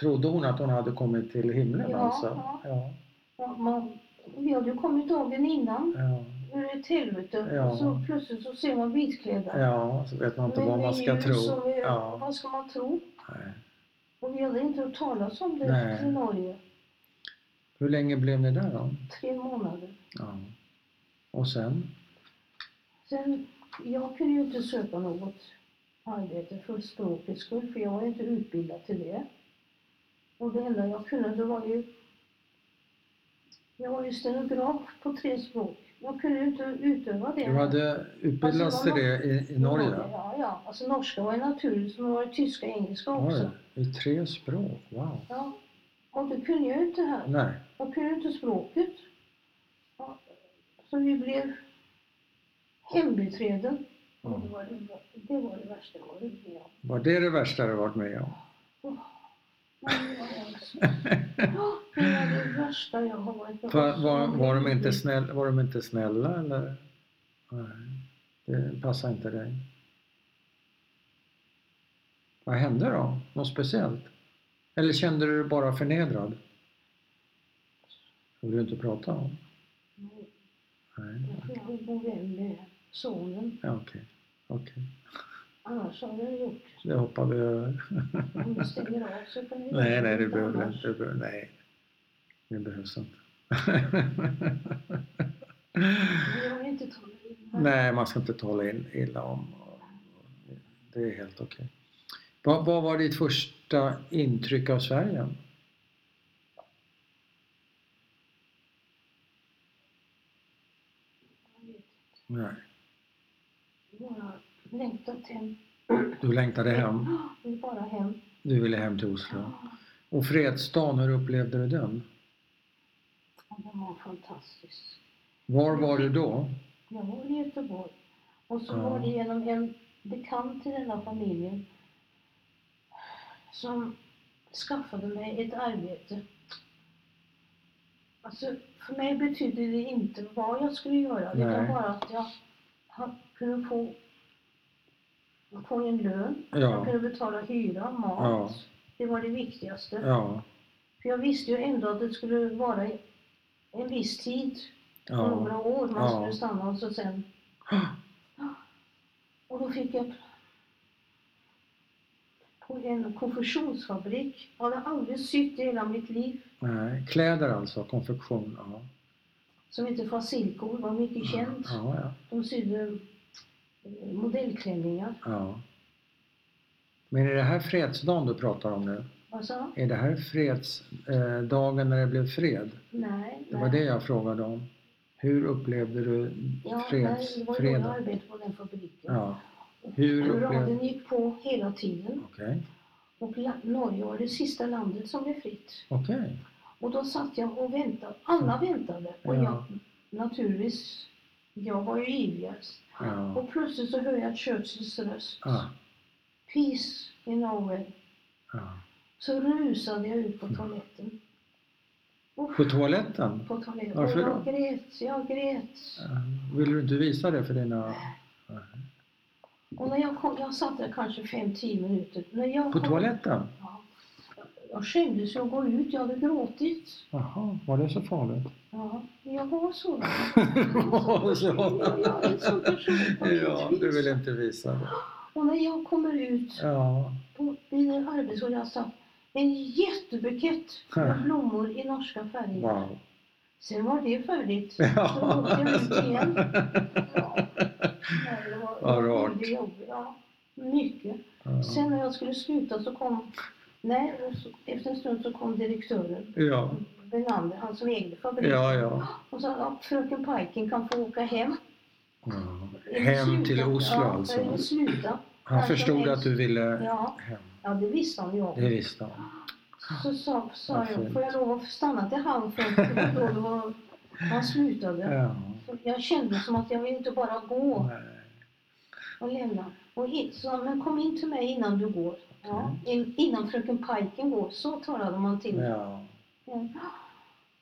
Trodde hon att hon hade kommit till himlen
Ja,
alltså?
ja.
Ja,
ja, man, vi hade ju kommit dagen innan
ja,
ur ett helvete.
Ja.
Och så plötsligt så ser man vitklädda.
ja, så vet man inte
Men
vad
det
man
är
ska
ju
tro.
så vi-
Ja,
Vad ska man tro?
nej.
Och vi hade inte hört talas om det
Nej.
i Norge.
Hur länge blev ni där då?
Tre månader.
Ja. Och sen?
Sen, jag kunde ju inte söka något arbete för språkets skull, för jag var ju inte utbildad till det. Och det enda jag kunde, det var ju... Jag var ju stenograf på tre språk. Jag kunde ju inte utöva det.
Du hade utbildats
Alltså,
till
jag
det i, i Norge?
Ja, ja. Alltså norska var ju naturligt, men det var ju tyska och engelska också.
Oj, i tre språk? Wow.
Ja. Och det kunde jag ju inte här.
Nej.
Jag kunde inte språket. Ja, Så vi blev hembiträden. Och Det,
Ja.
var det, det var det värsta jag varit med om.
Var det det värsta du varit med om?
Men det var hemskt. Ja, Det var det värsta jag har varit med om.
För, var, var, de inte snäll, var de inte snälla eller? Nej, det passar inte dig. Vad hände då? Något speciellt? Eller kände du dig bara förnedrad? Det vill du inte prata om? Nej,
Jag får bo vän med sonen.
ja, okej. Okej,
Annars hade jag gjort det.
det hoppar vi över.
Om det stänger av så kan vi
Nej, nej, det
inte
behöver
annars.
inte. Det behöver, nej, det behövs inte. [LAUGHS]
Jag vill inte ta mig
nej, man ska inte tala in, illa om. Det är helt okej. Vad, vad var ditt första intryck av Sverige? Nej.
Några längtat hem.
Du längtade hem.
Vill bara hem.
Du ville hem till Oslo. Och fredsdagen, hur upplevde du den?
Ja, Den var fantastisk.
Var var du då?
Jag var i Göteborg. Och så
Ja.
var det genom en bekant till den här familjen som skaffade mig ett arbete. Alltså, för mig betydde det inte vad jag skulle göra, utan
Nej.
bara att jag ha- kunde få, få en lön, jag
Ja,
kunde betala hyra, mat.
Ja.
Det var det viktigaste.
ja,
För jag visste ju ändå att det skulle vara i- en viss tid, några
ja.
år, man
Ja.
skulle stanna och så sen [GASPS] och då fick jag på en konfektionsfabrik. Jag hade aldrig sytt i hela mitt liv.
Nej, kläder alltså, konfektion. Ja,
Som hette Fasilko, var mycket känd.
ja, ja.
De sydde eh, modellklänningar.
Ja. Men är det här fredsdagen du pratar om nu?
Vad sa han?
Är det här fredsdagen eh, dagen när det blev fred?
Nej,
Det var det jag frågade om. Hur upplevde du
Ja, nej, det var ju då jag
fredsfredagen?
arbetade på den fabriken.
Ja. Hur
Raden
upplevde...
gick på hela tiden
Okej.
och la- Norge var det sista landet som blev fritt.
Okej.
Och då satt jag och väntade. Alla väntade och
Mm. Ja.
jag naturligtvis, jag var ju ivrigast.
Ja.
Och plötsligt så hör jag Churchills röst.
Ah,
Peace in Norway.
ja.
Så rusade jag ut på toaletten. Och
Mm. På toaletten?
på toaletten.
Varför
och jag
då?
grät, jag grät.
Ja. Vill du inte visa det för dina...
Och när jag kom, jag satt där kanske 5-10 minuter. När jag
På
kom-
toaletten?
Ja. Jag skämdes ju att gå ut, jag hade gråtit.
Jaha, var det så farligt? [LAUGHS]
Ja, men jag var så.
Var så?
Jag är en sån person på
ja,
mitt
du vill
vis.
inte visa det.
Och när jag kommer ut
Ja,
på min arbetsplats satt en jättebukett med blommor i norska färger.
wow.
Sen var det färdigt. Så
Ja.
åkte jag ut
[LAUGHS]
igen. Ja. Nej, det var-
Vad
det var
rart.
mycket jobb, Ja, mycket.
Ja.
Sen när jag skulle sluta så kom, nej, och så, efter en stund så kom direktören,
Ja,
Benander, han som ägde fabriken.
ja, ja.
Och sa att fröken Pajken kan få åka hem.
Ja.
Eller
Hem
sluta.
till Oslo
ja,
alltså.
Eller sluta.
Han förstod att du ville
Ja,
hem.
ja det visste han ju om.
Det visste han.
Så sa, sa
Vad
jag,
fint.
får jag lov att stanna till halv fem? För det var då det var- han slutade.
Ja.
Så Jag kände som att jag vill inte bara gå
Nej.
och lämna. Och in, så, han, men kom in till mig innan du går. Ja, in, innan fröken Pajken går, så talade man till mig.
Ja.
Ja.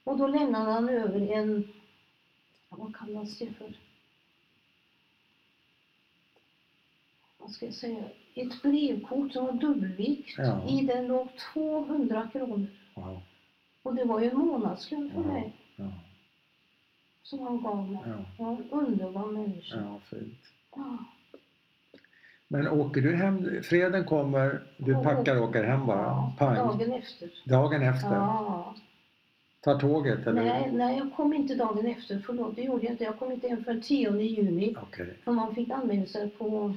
Och då lämnade han över en, vad kallas det för? Vad ska jag säga? Ett brevkort som var dubbelvikt.
Ja.
I den låg 200 kronor.
Wow.
Och det var ju en månadslön för
Ja.
mig
Ja.
som han gav mig.
Ja.
Jag var en underbar människa.
ja, fint.
Ja.
Men åker du hem, freden kommer, du packar och åker hem bara?
Ja,
Pang.
Dagen efter.
Dagen efter?
Ja.
Tar tåget eller?
Nej, nej, jag kom inte dagen efter. Förlåt, det gjorde jag inte. Jag kom inte hem förrän 10 juni.
Okej. [LAUGHS]
För man fick anmäla sig på,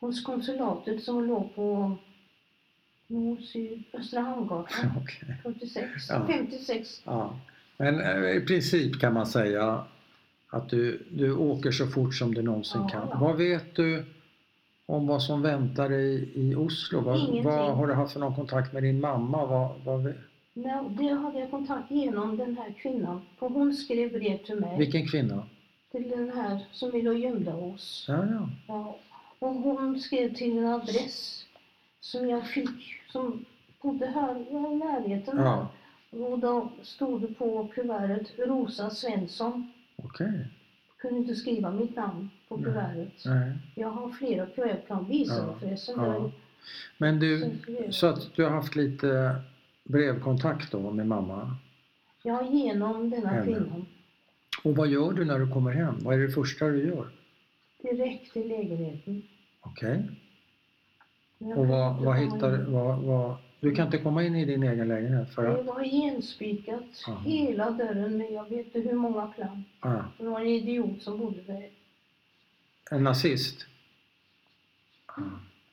hos konsulatet som låg på norr, syd,
[LAUGHS]
Östra Hamngatan
Okej.
46,
Ja.
56.
Ja. Men eh, i princip kan man säga att du, du åker så fort som du någonsin
Ja.
kan. Vad vet du om vad som väntar dig i Oslo? Vad,
Ingenting.
vad har du haft för någon kontakt med din mamma? Vad, vad, vet-
Men det hade jag kontakt genom den här kvinnan. För hon skrev brev till mig.
vilken kvinna?
Till den här som vi låg gömda hos.
Ja, ja.
Ja, och hon skrev till en adress som jag fick, som bodde här i närheten.
ja.
Och då stod det på kuvertet Rosa Svensson.
Okej.
Kunde inte skriva mitt namn på
Nej.
kuvertet.
Nej.
Jag har flera kuvert, jag kan visa
Ja,
dem förresten.
ja.
Jag-
Men du, så att du har haft lite brevkontakt då med mamma.
Ja, genom denna
Henne.
kvinnan.
Och vad gör du när du kommer hem? Vad är det första du gör?
Direkt till lägenheten.
Okej.
Men jag
Och
kunde
vad, vad
inte komma
hittar
in.
vad, vad, du? kan inte komma in i din egen lägenhet för
Det
att...
var igenspikat
Aha.
hela dörren med jag vet inte hur många plan.
Ah,
Det var en idiot som bodde där.
en nazist? Ah.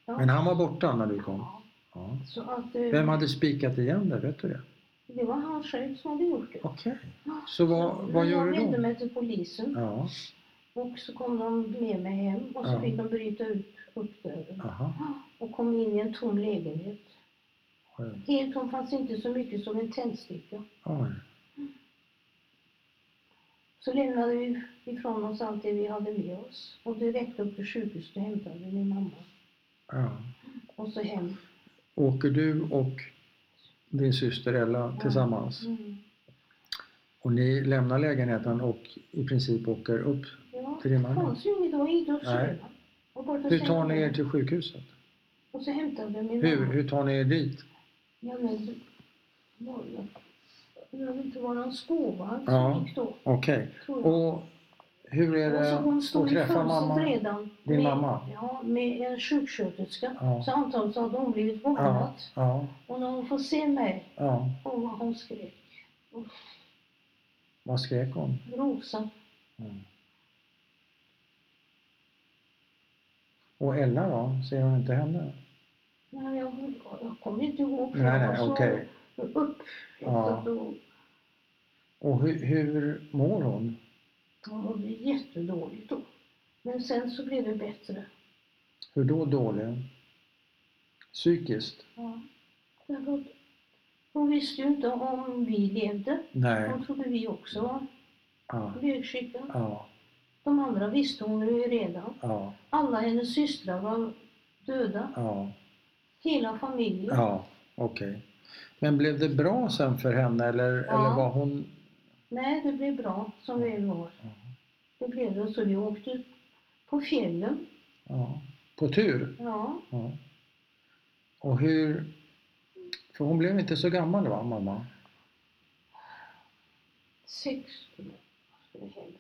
Ja.
Men han var borta när du kom?
Ja.
Ja.
Så att, eh,
Vem hade spikat igen det? Vet du det?
Det var han själv som hade gjort det.
Okej. Så vad, vad
Men
gör
Jag
du
vände
då?
mig till polisen
Ja.
och så kom de med mig hem och så
Ja.
fick de bryta ut upp dörren
Aha.
och kom in i en tom lägenhet.
Oj.
Helt tom fanns inte så mycket som en tändsticka.
Oj.
Så lämnade vi ifrån oss allt det vi hade med oss och direkt upp till sjukhuset och hämtade min mamma
Ja.
och så hem.
Åker du och din syster Ella tillsammans?
Mm.
Och ni lämnar lägenheten och i princip åker upp.
Ja,
Till din mamma?
konstigt nog, det var inte att
Nej.
skriva. Och bara
Hur tar ni er
sänkte-
till sjukhuset?
Och så hämtade jag min
Hur,
mamma.
hur tar ni er dit?
Ja, men det var ju... Jag vet inte, var det någon spårvagn
Ja.
som gick då?
Okej.
Tror jag.
Och hur är
och så
det
Alltså, hon
att
stod i
träffa
fönstret
mamma?
redan.
Din mamma?
Ja, med en sjuksköterska.
Ja.
Så antagligen så hade hon blivit vårdad.
Ja, ja,
Och när hon får se mig,
ja.
och vad hon skrek.
Vad skrek hon?
Rosa.
Mm. Och Ella då? Ser hon inte henne?
Nej, jag, jag kommer inte ihåg. för
Nej,
jag
nej,
var så
okej.
Upp.
Ja.
Ja. Och,
Och hur, hur mår hon?
hon mådde jättedåligt då. Men sen så blev det bättre.
Hur då dålig? Psykiskt?
Ja. Därför att Hon visste ju inte om vi levde.
Nej.
Hon trodde vi också var
Ja,
bögsjuka.
ja,
De andra visste hon ju redan.
ja,
Alla hennes systrar var döda.
ja.
Hela familjen.
Ja, okej. Men blev det bra sen för henne eller,
Ja.
eller var hon...
Nej, det blev bra som väl var.
Ja.
Det blev det. Så vi åkte på fjällen
Ja. På tur?
Ja,
Ja. Och hur... För hon blev inte så gammal va, mamma?
sex... vad ska det hända?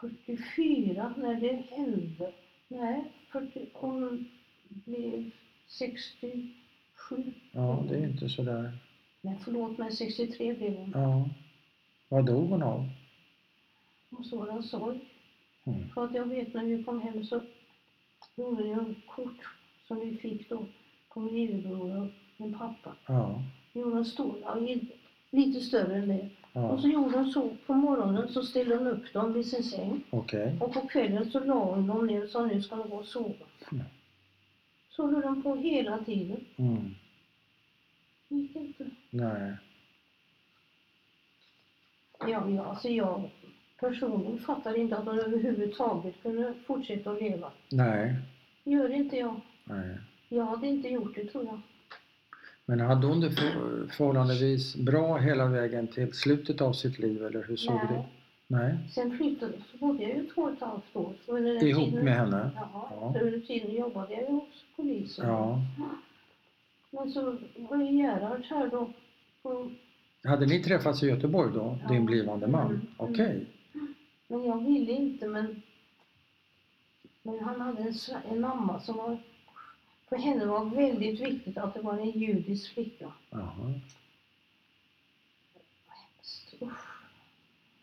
44 när det hände. Nej, 40, hon blev 67.
Ja, det är inte så där.
Nej, förlåt mig, 63 blev hon.
Ja. Vad dog hon av?
Hon såg en sorg.
Mm.
För att jag vet när vi kom hem så gjorde jag en kort som vi fick då på min lillebror och min pappa.
Ja.
Gjorde en stor, ja, i- lite större än det. Och
ja.
så gjorde hon så, på morgonen så ställde hon upp dem vid sin säng.
Okej.
Och på kvällen så la hon dem ner och sa nu ska de gå och sova.
Mm.
Så höll de på hela tiden.
Mm.
Det gick inte.
Nej.
Ja, ja, alltså jag personligen fattar inte att hon överhuvudtaget kunde fortsätta att leva.
Nej.
Gör inte jag.
Nej.
Jag hade inte gjort det tror jag.
Men hade hon det för- förhållandevis bra hela vägen till slutet av sitt liv eller hur såg
Nej.
du? Nej.
Sen flyttade så bodde jag ju två och ett halvt år. Så under den
Ihop
tiden,
med henne?
Ja,
Ja.
Så under tiden jobbade jag ju hos polisen.
Ja.
Men så var ju Gerhard här då. Och,
Hade ni träffats i Göteborg då,
Ja.
din blivande
Mm.
man? Okej.
men jag ville inte men... Men han hade en, sv- en mamma som var... För henne var väldigt viktigt att det var en judisk flicka.
Jaha.
Hemskt, Usch.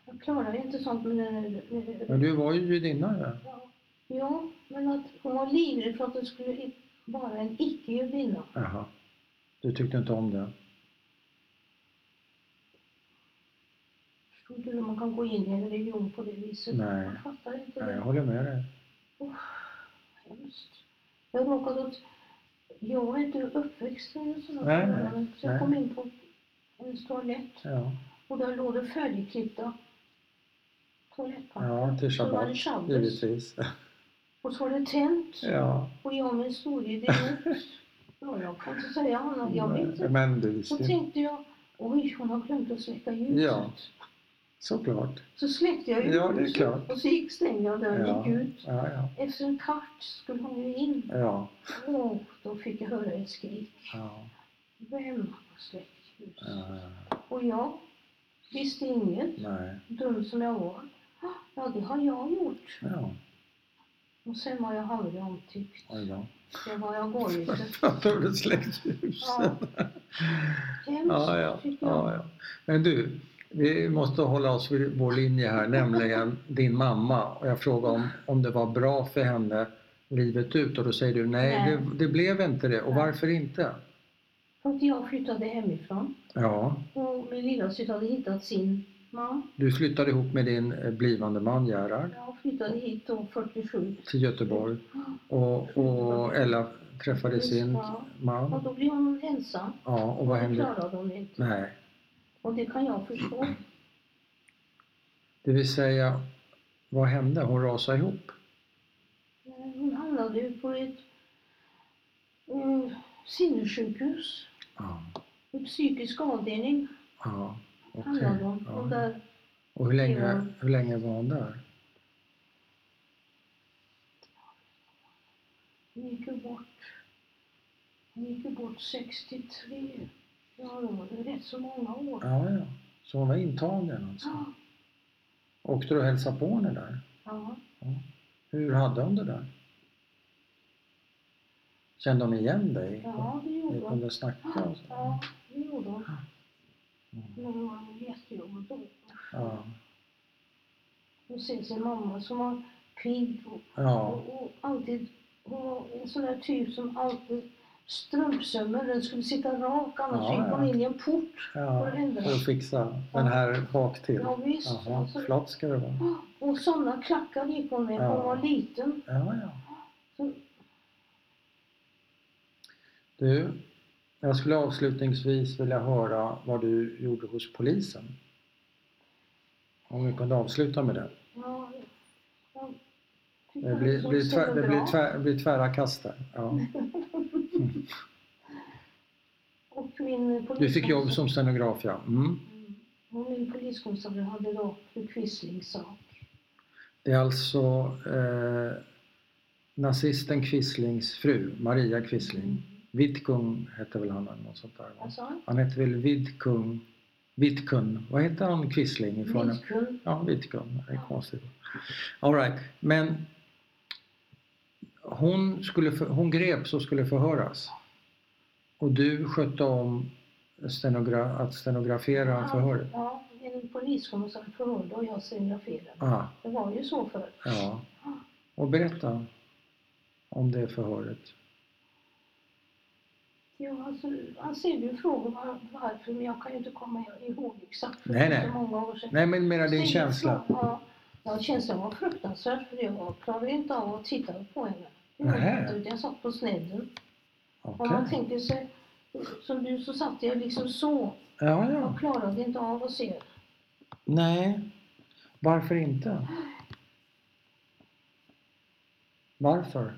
Jag klarar ju inte sånt med den...
Men du var ju judinna ju.
Ja, men att hon var livrädd för att det skulle i- vara en icke-judinna.
Jaha. Du tyckte inte om det?
Förstår du hur man kan gå in i en religion på det viset?
Nej.
Jag fattar inte
Nej, jag
det.
håller med dig.
Hemskt. Jag råkade att... Jag är inte uppväxt i sådana
Nej,
förhållanden. Så jag
nej.
kom in på en toalett
Ja.
och där låg det färdigklippta toalettpapper.
Ja, till
Så var
shabbat.
det shabbos.
Givetvis.
Och så var det tänt.
Ja.
Och jag med en stor idiot. ja, jag kan inte säga annat. Jag vet inte.
Men du
Så
visste ju.
tänkte jag, oj hon har glömt att släcka ljuset.
Ja. Såklart.
Så släckte jag
Ja, det är
ljuset
klart.
och så gick stängde jag dörren
Ja.
gick ut.
Ja, ja.
Efter en kvart skulle hon ju in.
Ja.
Åh, då fick jag höra ett skrik.
ja.
Vem har släckt ljuset?
ja.
Och jag visste inget,
Nej.
dum som jag var. Ah, Ja, det har jag gjort.
Ja.
Och sen var jag aldrig omtyckt.
Oj då.
Det var jag gående.
Då har du släckt ljusen.
Ja. Hemskt,
Ja, ja,
tycker jag.
ja, ja. Men du, vi måste hålla oss vid vår linje här, nämligen din mamma. Och jag frågade om, om det var bra för henne livet ut och då säger du nej,
Nej.
Det, det blev inte det. Och
Nej.
varför inte?
För att jag flyttade hemifrån.
Ja,
Och min lillasyster hade hittat sin man.
du flyttade ihop med din eh, blivande man Gerhard
Jag flyttade hit då Ah, 47.
till Göteborg och, och Ella träffade sin
Ja. Och
man.
då blev hon ensam.
Ja, och vad
det
hände?
klarade hon inte.
Nej,
Och det kan jag förstå.
det vill säga, vad hände? Hon rasade ihop.
Men Hon hamnade ju på ett eh, sinnessjukhus.
Ja,
En psykisk avdelning
ja, okej.
hamnade hon.
Ja.
Och där,
Och hur
Ja.
länge, hur länge var hon där?
hon gick ju bort. Hon gick ju bort 63. Ja, det var ju rätt så många år.
Ja, ja. Så hon var intagen alltså?
Ja.
Åkte du och hälsade på henne där?
ja.
Hur hade hon det där? Kände hon igen dig?
Ja, det
Ni
gjorde hon.
kunde snacka och så?
Ja, det gjorde hon.
Mm.
Men det var jättejobbigt då.
Ja.
Och sen sin mamma som var pigg och,
ja.
och, och alltid, hon var en sån där typ som alltid strumpsömmen, den skulle sitta rak annars
Ja,
gick hon
ja.
in i en port.
ja. För att fixa den här bak till?
Ja, visst.
Jaha,
Alltså,
flatt ska det vara.
och såna klackar gick hon med,
Ja.
hon var liten.
Ja, ja.
Så,
Du, jag skulle avslutningsvis vilja höra vad du gjorde hos polisen. Om vi kunde avsluta med det.
ja, jag tyckte
Det blir,
också
blir, tvär,
var
det
bra.
blir, tvär, blir tvära kast där. Ja.
Och min
Du fick jobb
poliskompis-
som stenograf, ja. Mm.
Mm. Och min poliskompis hade då fru Quislings sak.
Det är alltså eh, nazisten Quislings fru, Maria Quisling. Vidkun hette väl han eller något sånt där? va?
Vad sa Mm. Alltså, han?
Han hette väl Vidkun, Vidkun, vad hette han Quisling ifrån?
Vidkun.
Ja, Vidkun, det är konstigt. All right. men hon, skulle för, hon greps och skulle förhöras. Och du skötte om stenogra, att stenografera förhöret?
Ja, en poliskommissarie förhörde och jag stenograferade.
Ah,
Det var ju så förr.
ja. Och berätta om det förhöret.
Ja, alltså, han ställde ju frågor var, varför, men jag kan ju inte komma ihåg exakt. för
Nej,
det är
nej.
Så många år sedan.
Nej, men mera din
Ställde
känsla.
frågor, Ja, ja, känslan var fruktansvärd för jag klarade inte av att titta på henne. Det gjorde
Nähä.
jag inte, utan Jag satt på snedden. Om
Okej.
man tänker sig, som du så satt jag liksom så.
Ja, ja.
Jag klarade inte av att se.
Nej, varför inte? Varför?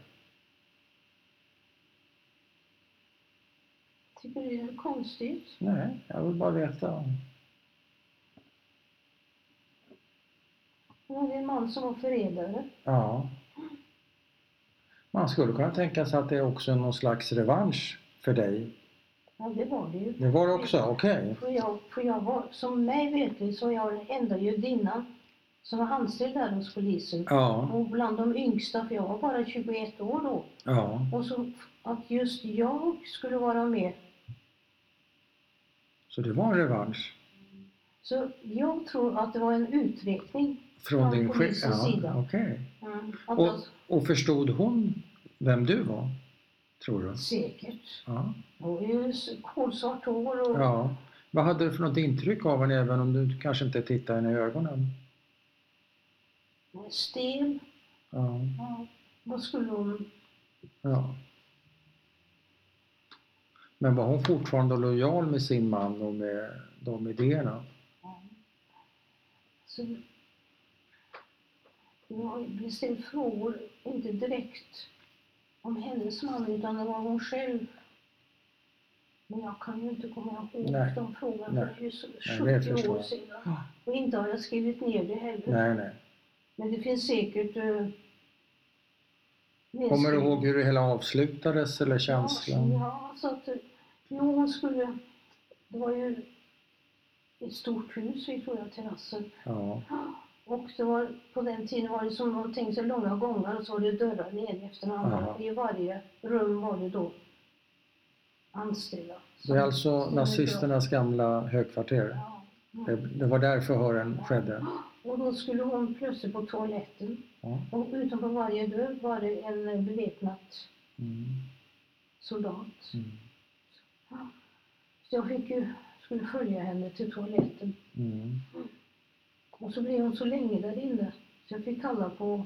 Tycker du det är konstigt?
Nej, jag vill bara veta.
Det var ju en man som var förrädare.
Ja. Man skulle kunna tänka sig att det är också någon slags revansch för dig.
Ja, det var det ju.
Det var det också, okej.
För jag, för jag var, som mig vetligt så var jag den enda judinnan som var anställd där hos polisen.
Ja,
Och bland de yngsta, för jag var bara 21 år då.
ja,
Och så att just jag skulle vara med.
så det var en revansch.
Så jag tror att det var en utveckling.
Från
Från
din chef?
polisens
Ja,
sida.
okej.
Mm, att
Och-
jag,
Och förstod hon vem du var? Tror du?
säkert.
Ja.
Och ju s- kolsvart hår och...
ja. Vad hade du för något intryck av henne även om du kanske inte tittade henne i ögonen?
Stel.
Ja.
Ja. Vad skulle hon...
Ja. Men var hon fortfarande lojal med sin man och med de idéerna?
Ja. Så, jag blev ställd frågor, inte direkt om hennes man, utan det var hon själv. Men jag kan ju inte komma ihåg
Nej.
de frågorna,
Nej.
för det är ju så
Nej,
70
det förstår
år
jag.
sedan. Och inte har jag skrivit ner det heller.
Nej, nej.
Men det finns säkert... eh,
Kommer du
nedskrivet.
ihåg hur det hela avslutades eller
Ja,
känslan?
ja, så att, eh, jo, hon skulle... Det var ju ett stort hus, vi tror jag, terrasser.
Ja.
Och det var, på den tiden var det som man tänkte sig långa gångar och så var det dörrar ner efter
Aha.
varandra. I varje rum var det då anställda.
Det är alltså
som-
nazisternas gamla högkvarter.
Ja.
Det, det var där förhören skedde.
Och då skulle hon plötsligt på toaletten.
Ja.
Och utanför varje dörr var det en eh, beväpnad
Mm.
soldat.
Mm.
Så jag fick ju, skulle följa henne till toaletten.
Mm.
Och så blev hon så länge där inne. Så jag fick kalla på,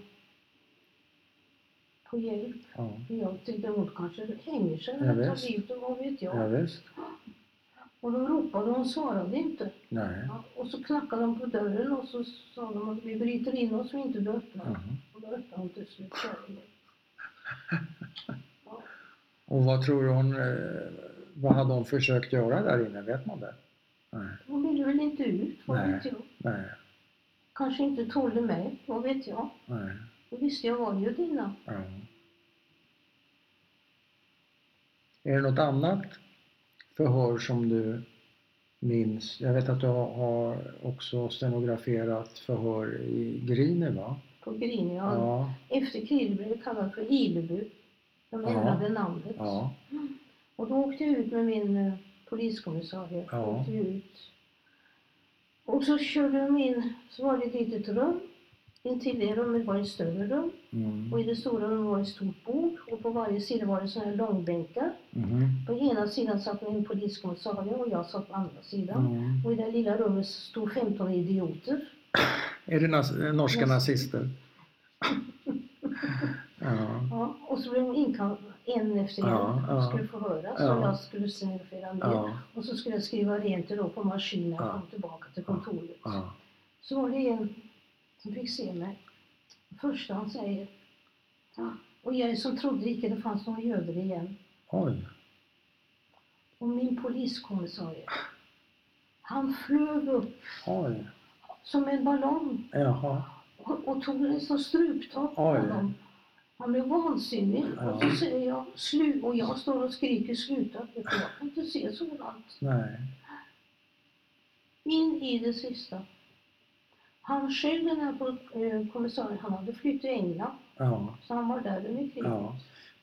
på hjälp.
Ja.
Jag tänkte hon kanske hänger sig
Ja,
eller tar
visst.
livet och vad vet jag.
ja, visst.
Och de ropade och hon svarade inte.
Nej.
Ja, Och så knackade de på dörren och så sa de att vi bryter in oss om inte du öppnar.
Ja.
Och då öppnade hon till slut dörren. Ja,
Och vad tror du hon, eh, vad hade hon försökt göra där inne? Vet man det? Nej.
Hon ville väl inte ut, vad
Nej.
vet jag.
Nej.
Kanske inte tålde mig, vad vet jag.
Nej.
Och visst, jag var ju dina.
Ja. Är det något annat förhör som du minns? Jag vet att du har- har också stenograferat förhör i Grine, va?
på Grini. Ja. Efter kriget blev det kallat för Ileby. De
Ja.
ändrade namnet.
Ja.
Och då åkte jag ut med min eh, poliskommissarie.
Ja.
Åkte ut. Och så körde de in, så var det ett litet rum. Intill det rummet var ett större rum
Mm.
och i det stora rummet var ett stort bord och på varje sida var det sådana här långbänkar.
Mhm.
På ena sidan satt min poliskommissarie och jag satt på andra sidan.
Mm.
Och i det lilla rummet stod 15 idioter.
Är det nas- norska
Nas- [LAUGHS]
nazister? ja.
Ja, och så blev de inkallade en efter en
Ja,
och
ja.
skulle förhöras
Ja.
och jag skulle stenografera ner.
Ja.
Och så skulle jag skriva rent det då på maskinen och
Ja.
kom tillbaka till kontoret.
Ja.
Så var det en som fick se mig. Första han säger, ja, och jag som trodde icke det fanns några göder igen.
Oj.
Och min poliskommissarie, han flög upp
Oj.
som en ballong
Jaha.
och, och tog en sån struptag på
Oj.
honom. Han blev vansinnig.
Ja.
Och så säger jag slut och jag står och skriker sluta. vet du, Jag kan inte se sådant.
Nej.
In i det sista. Han själv, den här po- eh, kommissarien, han hade flytt till England.
Ja.
Så han var där under kriget.
ja. Mm.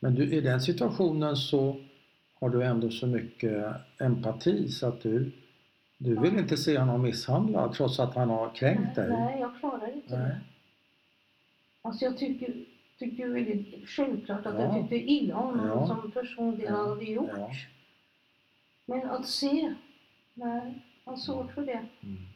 Men du, i den situationen så har du ändå så mycket empati så att du, du vill
Ja.
inte se honom misshandlad trots att han har kränkt
nej,
dig.
nej, jag klarar inte
Nej.
det. Alltså jag tycker, tycker det är väldigt självklart att
Ja.
jag tyckte illa om honom
Ja.
som person, det han hade gjort.
Ja.
Men att se, nej, jag har svårt för det.
Mm.